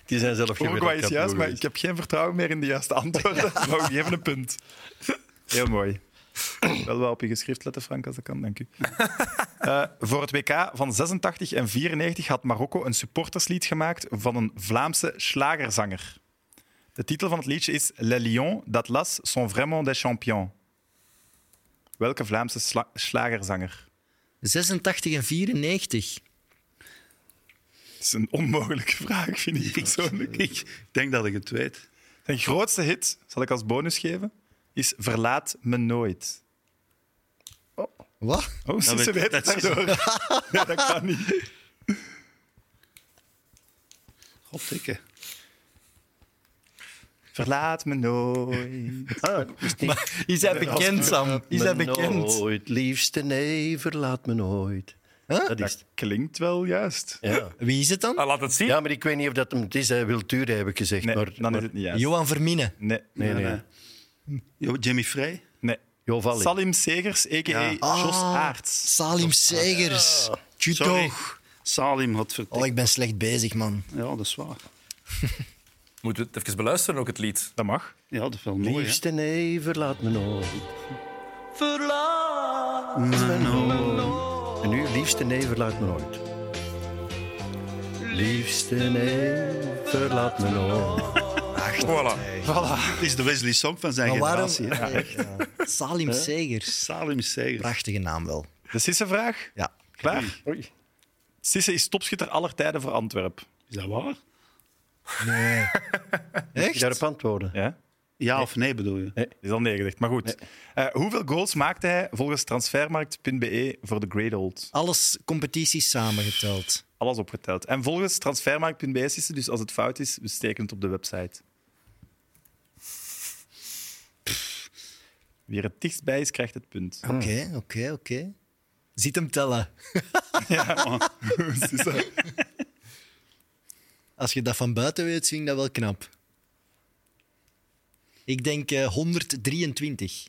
S4: Die zijn zelf geen
S1: Uruguay is
S4: wereldkampioen
S1: juist, maar
S4: geweest.
S1: ik heb geen vertrouwen meer in de juiste antwoorden. Maar we geven een punt. Heel mooi. Wel wel op je geschrift letten, Frank, als dat kan. Dank u. Eh, voor het WK van 86 en 94 had Marokko een supporterslied gemaakt van een Vlaamse slagerzanger. De titel van het liedje is Les Lions d'Atlas sont vraiment des champions. Welke Vlaamse sla- slagerzanger?
S6: 86 en 94.
S1: Het is een onmogelijke vraag, vind ik persoonlijk.
S5: Ik denk dat ik het weet.
S1: Zijn grootste hit, zal ik als bonus geven, is Verlaat me nooit.
S6: Wat?
S1: Oh, ze
S5: weet-
S1: weet het
S5: dat is-
S1: daardoor. Ja, dat kan niet.
S5: Goddikke.
S1: Verlaat me nooit.
S4: Ah,
S6: Is hij bekend, Sam? Is hij
S4: Me
S6: bekend?
S4: Nooit, liefste nee, verlaat me nooit. Dat is
S1: Dat klinkt wel juist.
S4: ja.
S6: Wie is het dan?
S7: Ah, laat het zien.
S4: ja, maar ik weet niet of dat hem het is. Hij wil Ture, heb ik gezegd.
S1: Nee,
S4: maar,
S1: dan
S4: maar-
S1: is het niet juist.
S6: Johan Vermine.
S1: Nee,
S4: Nee, nee.
S5: Jo, Jimmy Frey?
S1: nee.
S4: Jo, Valli.
S1: Salim Segers, a.k.a.
S5: Ja.
S1: Jos Aarts.
S6: Salim Segers. Tjie
S5: Sorry.
S6: toch.
S5: Salim had vertikt.
S6: Oh, ik ben slecht bezig, man.
S5: Ja, dat is waar.
S7: Moeten we het even beluisteren, ook het lied.
S1: Dat mag.
S5: Ja, dat is wel mooi. hè?
S4: Liefste nee, verlaat me nooit.
S5: Nee, no.
S4: En nu, liefste nee, verlaat me nooit. Liefste nee, verlaat me nooit.
S7: Voilà.
S5: Het is de Wesley Song van zijn
S6: Maar waarom?
S5: generatie. hè.
S6: Ja. Salim Segers.
S5: Salim Segers.
S6: Prachtige naam wel.
S1: De Sisse-vraag.
S6: Ja.
S1: Klaar? Sisse is topschutter aller tijden voor Antwerpen.
S5: Is dat waar?
S2: Nee.
S4: Moet je daarop antwoorden?
S1: Ja?
S6: Ja of nee bedoel je?
S1: Is al nee gezegd, maar goed. Eh, hoeveel goals maakte hij volgens transfermarkt.be voor de Great Old?
S2: Alles competities samengeteld.
S1: Alles opgeteld. En volgens transfermarkt.be is het dus als het fout is, we steken het op de website. Wie er het dichtst bij is, krijgt het punt.
S2: Oké, oké, oké. Ziet hem tellen.
S1: Ja. Precies.
S2: Als je dat van buiten weet, vind ik dat wel knap. Ik denk eh, 123.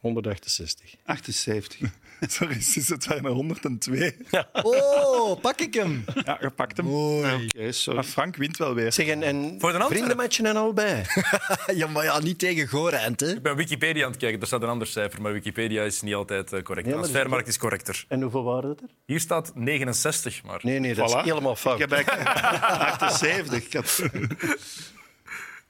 S4: 168.
S6: 78.
S1: Sorry, is het bijna 102.
S2: Oh, pak ik hem.
S1: Ja, je pakt hem.
S2: Mooi.
S1: Maar Frank wint wel weer.
S4: Zeg, en, en
S7: Voor de Antwerp.
S4: vriendenmatchen en al bij.
S2: ja, maar ja, niet tegen Gorent, hè.
S7: Ik ben Wikipedia aan het kijken, daar staat een ander cijfer, maar Wikipedia is niet altijd eh, correct.
S4: Ja, maar- dus-
S7: Transfermarkt is correcter.
S4: En hoeveel waren het er?
S7: Hier staat 69, maar...
S4: Nee, nee, dat is
S6: Voilà.
S4: helemaal fout.
S6: Ik heb eigenlijk 78. Ik heb...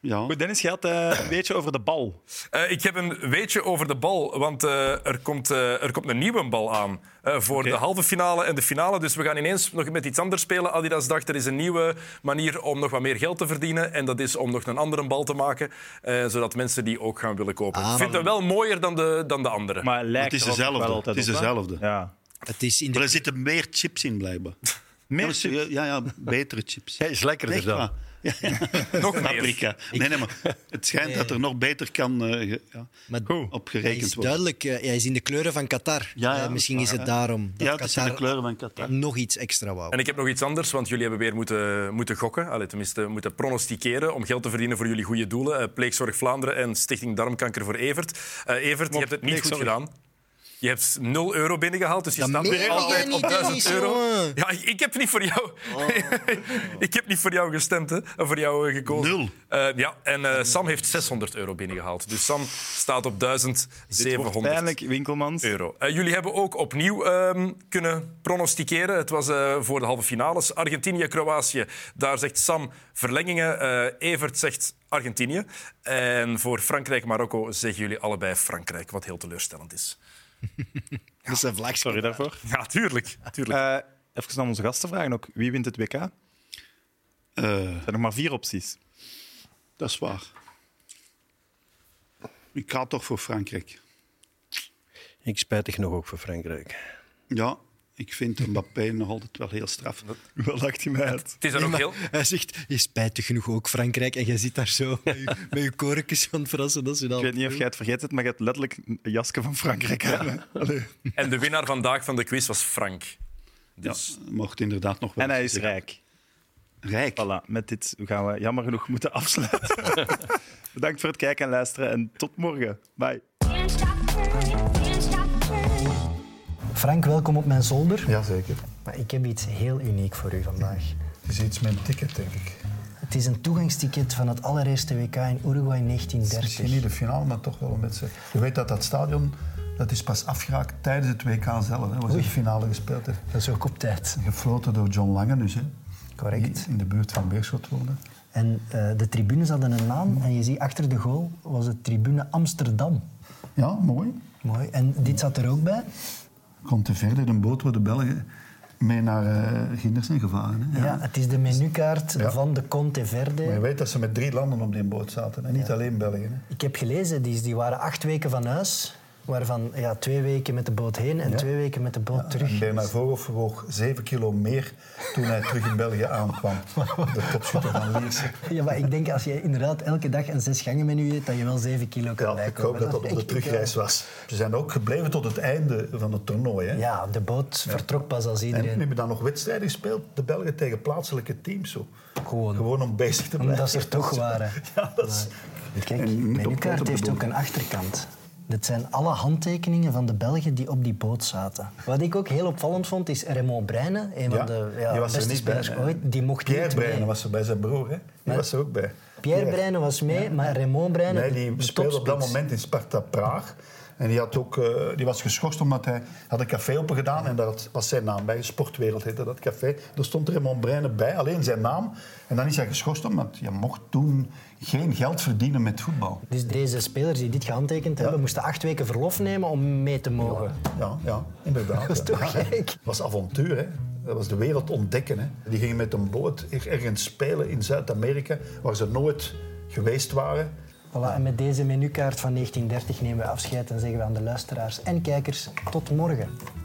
S6: Ja.
S1: Goed, Dennis, je had eh, een beetje over de bal.
S7: Eh, ik heb een weetje over de bal, want eh, er, komt, eh, er komt een nieuwe bal aan eh, voor de halve finale en de finale. Dus we gaan ineens nog met iets anders spelen. Adidas dacht, er is een nieuwe manier om nog wat meer geld te verdienen. En dat is om nog een andere bal te maken, eh, zodat mensen die ook gaan willen kopen.
S4: Ah,
S7: ik vind dat wel mooier dan de, dan de andere.
S1: Maar hij lijkt
S6: Het is
S1: er ook
S6: dezelfde.
S1: wel altijd
S6: Het is
S1: op, hè?
S6: dezelfde.
S1: Ja.
S2: Het is in
S6: Maar
S2: de...
S6: er zitten meer chips in, blijkbaar.
S1: Meer
S6: Ja, maar serieus, ja, ja, betere chips.
S4: Hij is lekkerder
S6: Echt
S4: dan.
S6: waar. Ja, ja.
S7: Nog meer.
S6: Paprika. Nee, nee, maar het schijnt dat er nog beter kan eh, ge- ja,
S2: Maar
S6: op
S2: hij is
S6: gerekend worden.
S2: duidelijk, eh, hij is in de kleuren van Qatar.
S6: Ja, ja,
S2: Eh, misschien
S6: dat
S2: is
S6: is
S2: het
S6: waar,
S2: daarom dat
S6: Ja, het is in
S2: Qatar
S6: de kleuren van Qatar.
S2: nog iets extra wou.
S7: En ik heb nog iets anders, want jullie hebben weer moeten, moeten gokken. Allee, tenminste, moeten pronosticeren om geld te verdienen voor jullie goede doelen. Eh, Pleegzorg Vlaanderen en Stichting Darmkanker voor Evert. Eh, Evert, je hebt het niet goed
S1: pleegzorg.
S7: gedaan. Je hebt 0 euro binnengehaald, dus je
S2: Dat
S7: staat
S2: meen
S7: weer
S2: jij
S7: altijd
S2: niet,
S7: op 1000
S2: Dennis,
S7: euro.
S2: jongen. Oh.
S7: Ja, ik- ik heb niet voor jou, ik heb niet voor jou gestemd, hè. Eh, voor jou eh, gekozen.
S6: Nul.
S7: Eh, ja, en eh, Sam heeft 600 euro binnengehaald. Dus Sam staat op 1700
S1: Pijnlijk, Winkelmans.
S7: euro. Eh, jullie hebben ook opnieuw ehm, kunnen pronosticeren. Het was eh, voor de halve finales. Argentinië, Kroatië. Daar zegt Sam verlengingen. Eh, Evert zegt Argentinië. En voor Frankrijk, Marokko zeggen jullie allebei Frankrijk. Wat heel teleurstellend is.
S2: Dat is een vlagschip.
S1: Sorry daarvoor.
S7: Ja, tuurlijk. tuurlijk.
S1: Eh even aan onze gasten vragen ook. Wie wint het WK? Er
S6: Eh,
S1: zijn nog maar vier opties.
S6: dat is waar. Ik ga toch voor Frankrijk.
S4: Ik spijtig nog ook voor Frankrijk.
S6: Ja, ik vind Mbappé nog altijd wel heel straf.
S1: Wel lacht hij mij uit.
S7: het is dan
S2: Nee,
S7: ook
S2: maar
S7: heel...
S2: Hij zegt, je spijtig genoeg ook Frankrijk. En jij zit daar zo met je- met je korekjes aan het verrassen. Dat is
S1: Ik weet niet of jij het vergeet hebt, maar je hebt letterlijk een jasje van Frankrijk aan. hè. Allee.
S7: En de winnaar vandaag van de quiz was Frank. Dus
S6: Ja, mocht inderdaad nog wel
S1: En hij is
S6: zeggen.
S1: rijk.
S6: Rijk.
S1: Voilà, met dit gaan we jammer genoeg moeten afsluiten. Bedankt voor het kijken en luisteren en tot morgen. Bye.
S3: Can't stop turning, can't stop turning.
S2: Frank, welkom op mijn zolder.
S5: Jazeker.
S2: Maar ik heb iets heel uniek voor u vandaag.
S5: Het is iets met een ticket, denk ik.
S2: Het is een toegangsticket van het allereerste WK in Uruguay
S5: Het is misschien niet de finale, maar toch wel een beetje... Je weet dat dat stadion dat is pas afgeraakt tijdens het WK zelf. Hè, waar ze de finale gespeeld heeft.
S2: Dat is ook op tijd.
S5: Gefloten door John Lange dus, hè.
S2: Correct.
S5: Die in de buurt van Beerschot woonde.
S2: En eh, de tribunes hadden een naam. En je ziet achter de goal was het tribune Amsterdam.
S5: Ja, mooi.
S2: Mooi. En dit zat er ook bij.
S5: Komt te verder een boot waar de Belgen mee naar eh Gindersen gevaren. Hè.
S2: Ja, het is de menukaart
S5: Ja.
S2: van de Conte Verde.
S5: Maar je weet dat ze met drie landen op die boot zaten. En niet alleen België. Hè.
S2: Ik heb gelezen, die, die waren acht weken van huis. Waarvan ja, twee weken met de boot heen en twee weken met de boot
S5: En
S2: terug.
S5: Bernard Vogel woog zeven kilo meer toen hij terug in België aankwam. De topschutter van Lierse.
S2: Ja, maar ik denk als je inderdaad elke dag een zes gangen menu eet, dat je wel zeven kilo kan
S5: Ja, ik
S2: bijkomen.
S5: hoop dat dat op
S2: denk
S5: de
S2: ik,
S5: terugreis
S2: ja.
S5: was. Ze zijn ook gebleven tot het einde van het toernooi. Hè?
S2: Ja, de boot vertrok pas als
S5: en
S2: iedereen...
S5: hebben dan nog wedstrijden gespeeld, de Belgen tegen plaatselijke teams. Zo.
S2: Gewoon.
S5: Gewoon om bezig te blijven.
S2: Omdat ze er toch waren.
S5: Ja, dat is...
S2: Kijk,
S5: En niet op
S2: menukaart
S5: grote
S2: heeft ook
S5: bedoeling.
S2: een achterkant. Dit zijn alle handtekeningen van de Belgen die op die boot zaten. Wat ik ook heel opvallend vond, is Raymond Breinen, een van de ja,
S5: die was er
S2: beste
S5: niet bij.
S2: spelers
S5: hè.
S2: ooit. Die mocht
S5: Pierre
S2: niet
S5: Breinen
S2: mee.
S5: was er bij zijn broer. Hè? Die was er ook bij.
S2: Pierre Breinen was mee, maar Raymond Breinen...
S5: Nee, die
S2: de
S5: speelde op dat
S2: topspits.
S5: moment in Sparta Praag. En die, had ook, eh, die was geschorst omdat hij had een café opengedaan. En daar had- was zijn naam bij. Sportwereld heette dat café. Daar stond Raymond Breinen bij, alleen zijn naam. En dan is hij geschorst omdat je mocht toen geen geld verdienen met voetbal.
S2: Dus deze spelers die dit gehandtekend hebben, moesten acht weken verlof nemen om mee te mogen.
S5: Ja, ja inderdaad. Dat
S2: is toch gek?
S5: was avontuur, hè. Dat was de wereld ontdekken. Hè. Die gingen met een boot er- ergens spelen in Zuid-Amerika, waar ze nooit geweest waren.
S2: Voilà, en met deze menukaart van 1930 nemen we afscheid en zeggen we aan de luisteraars en kijkers tot morgen.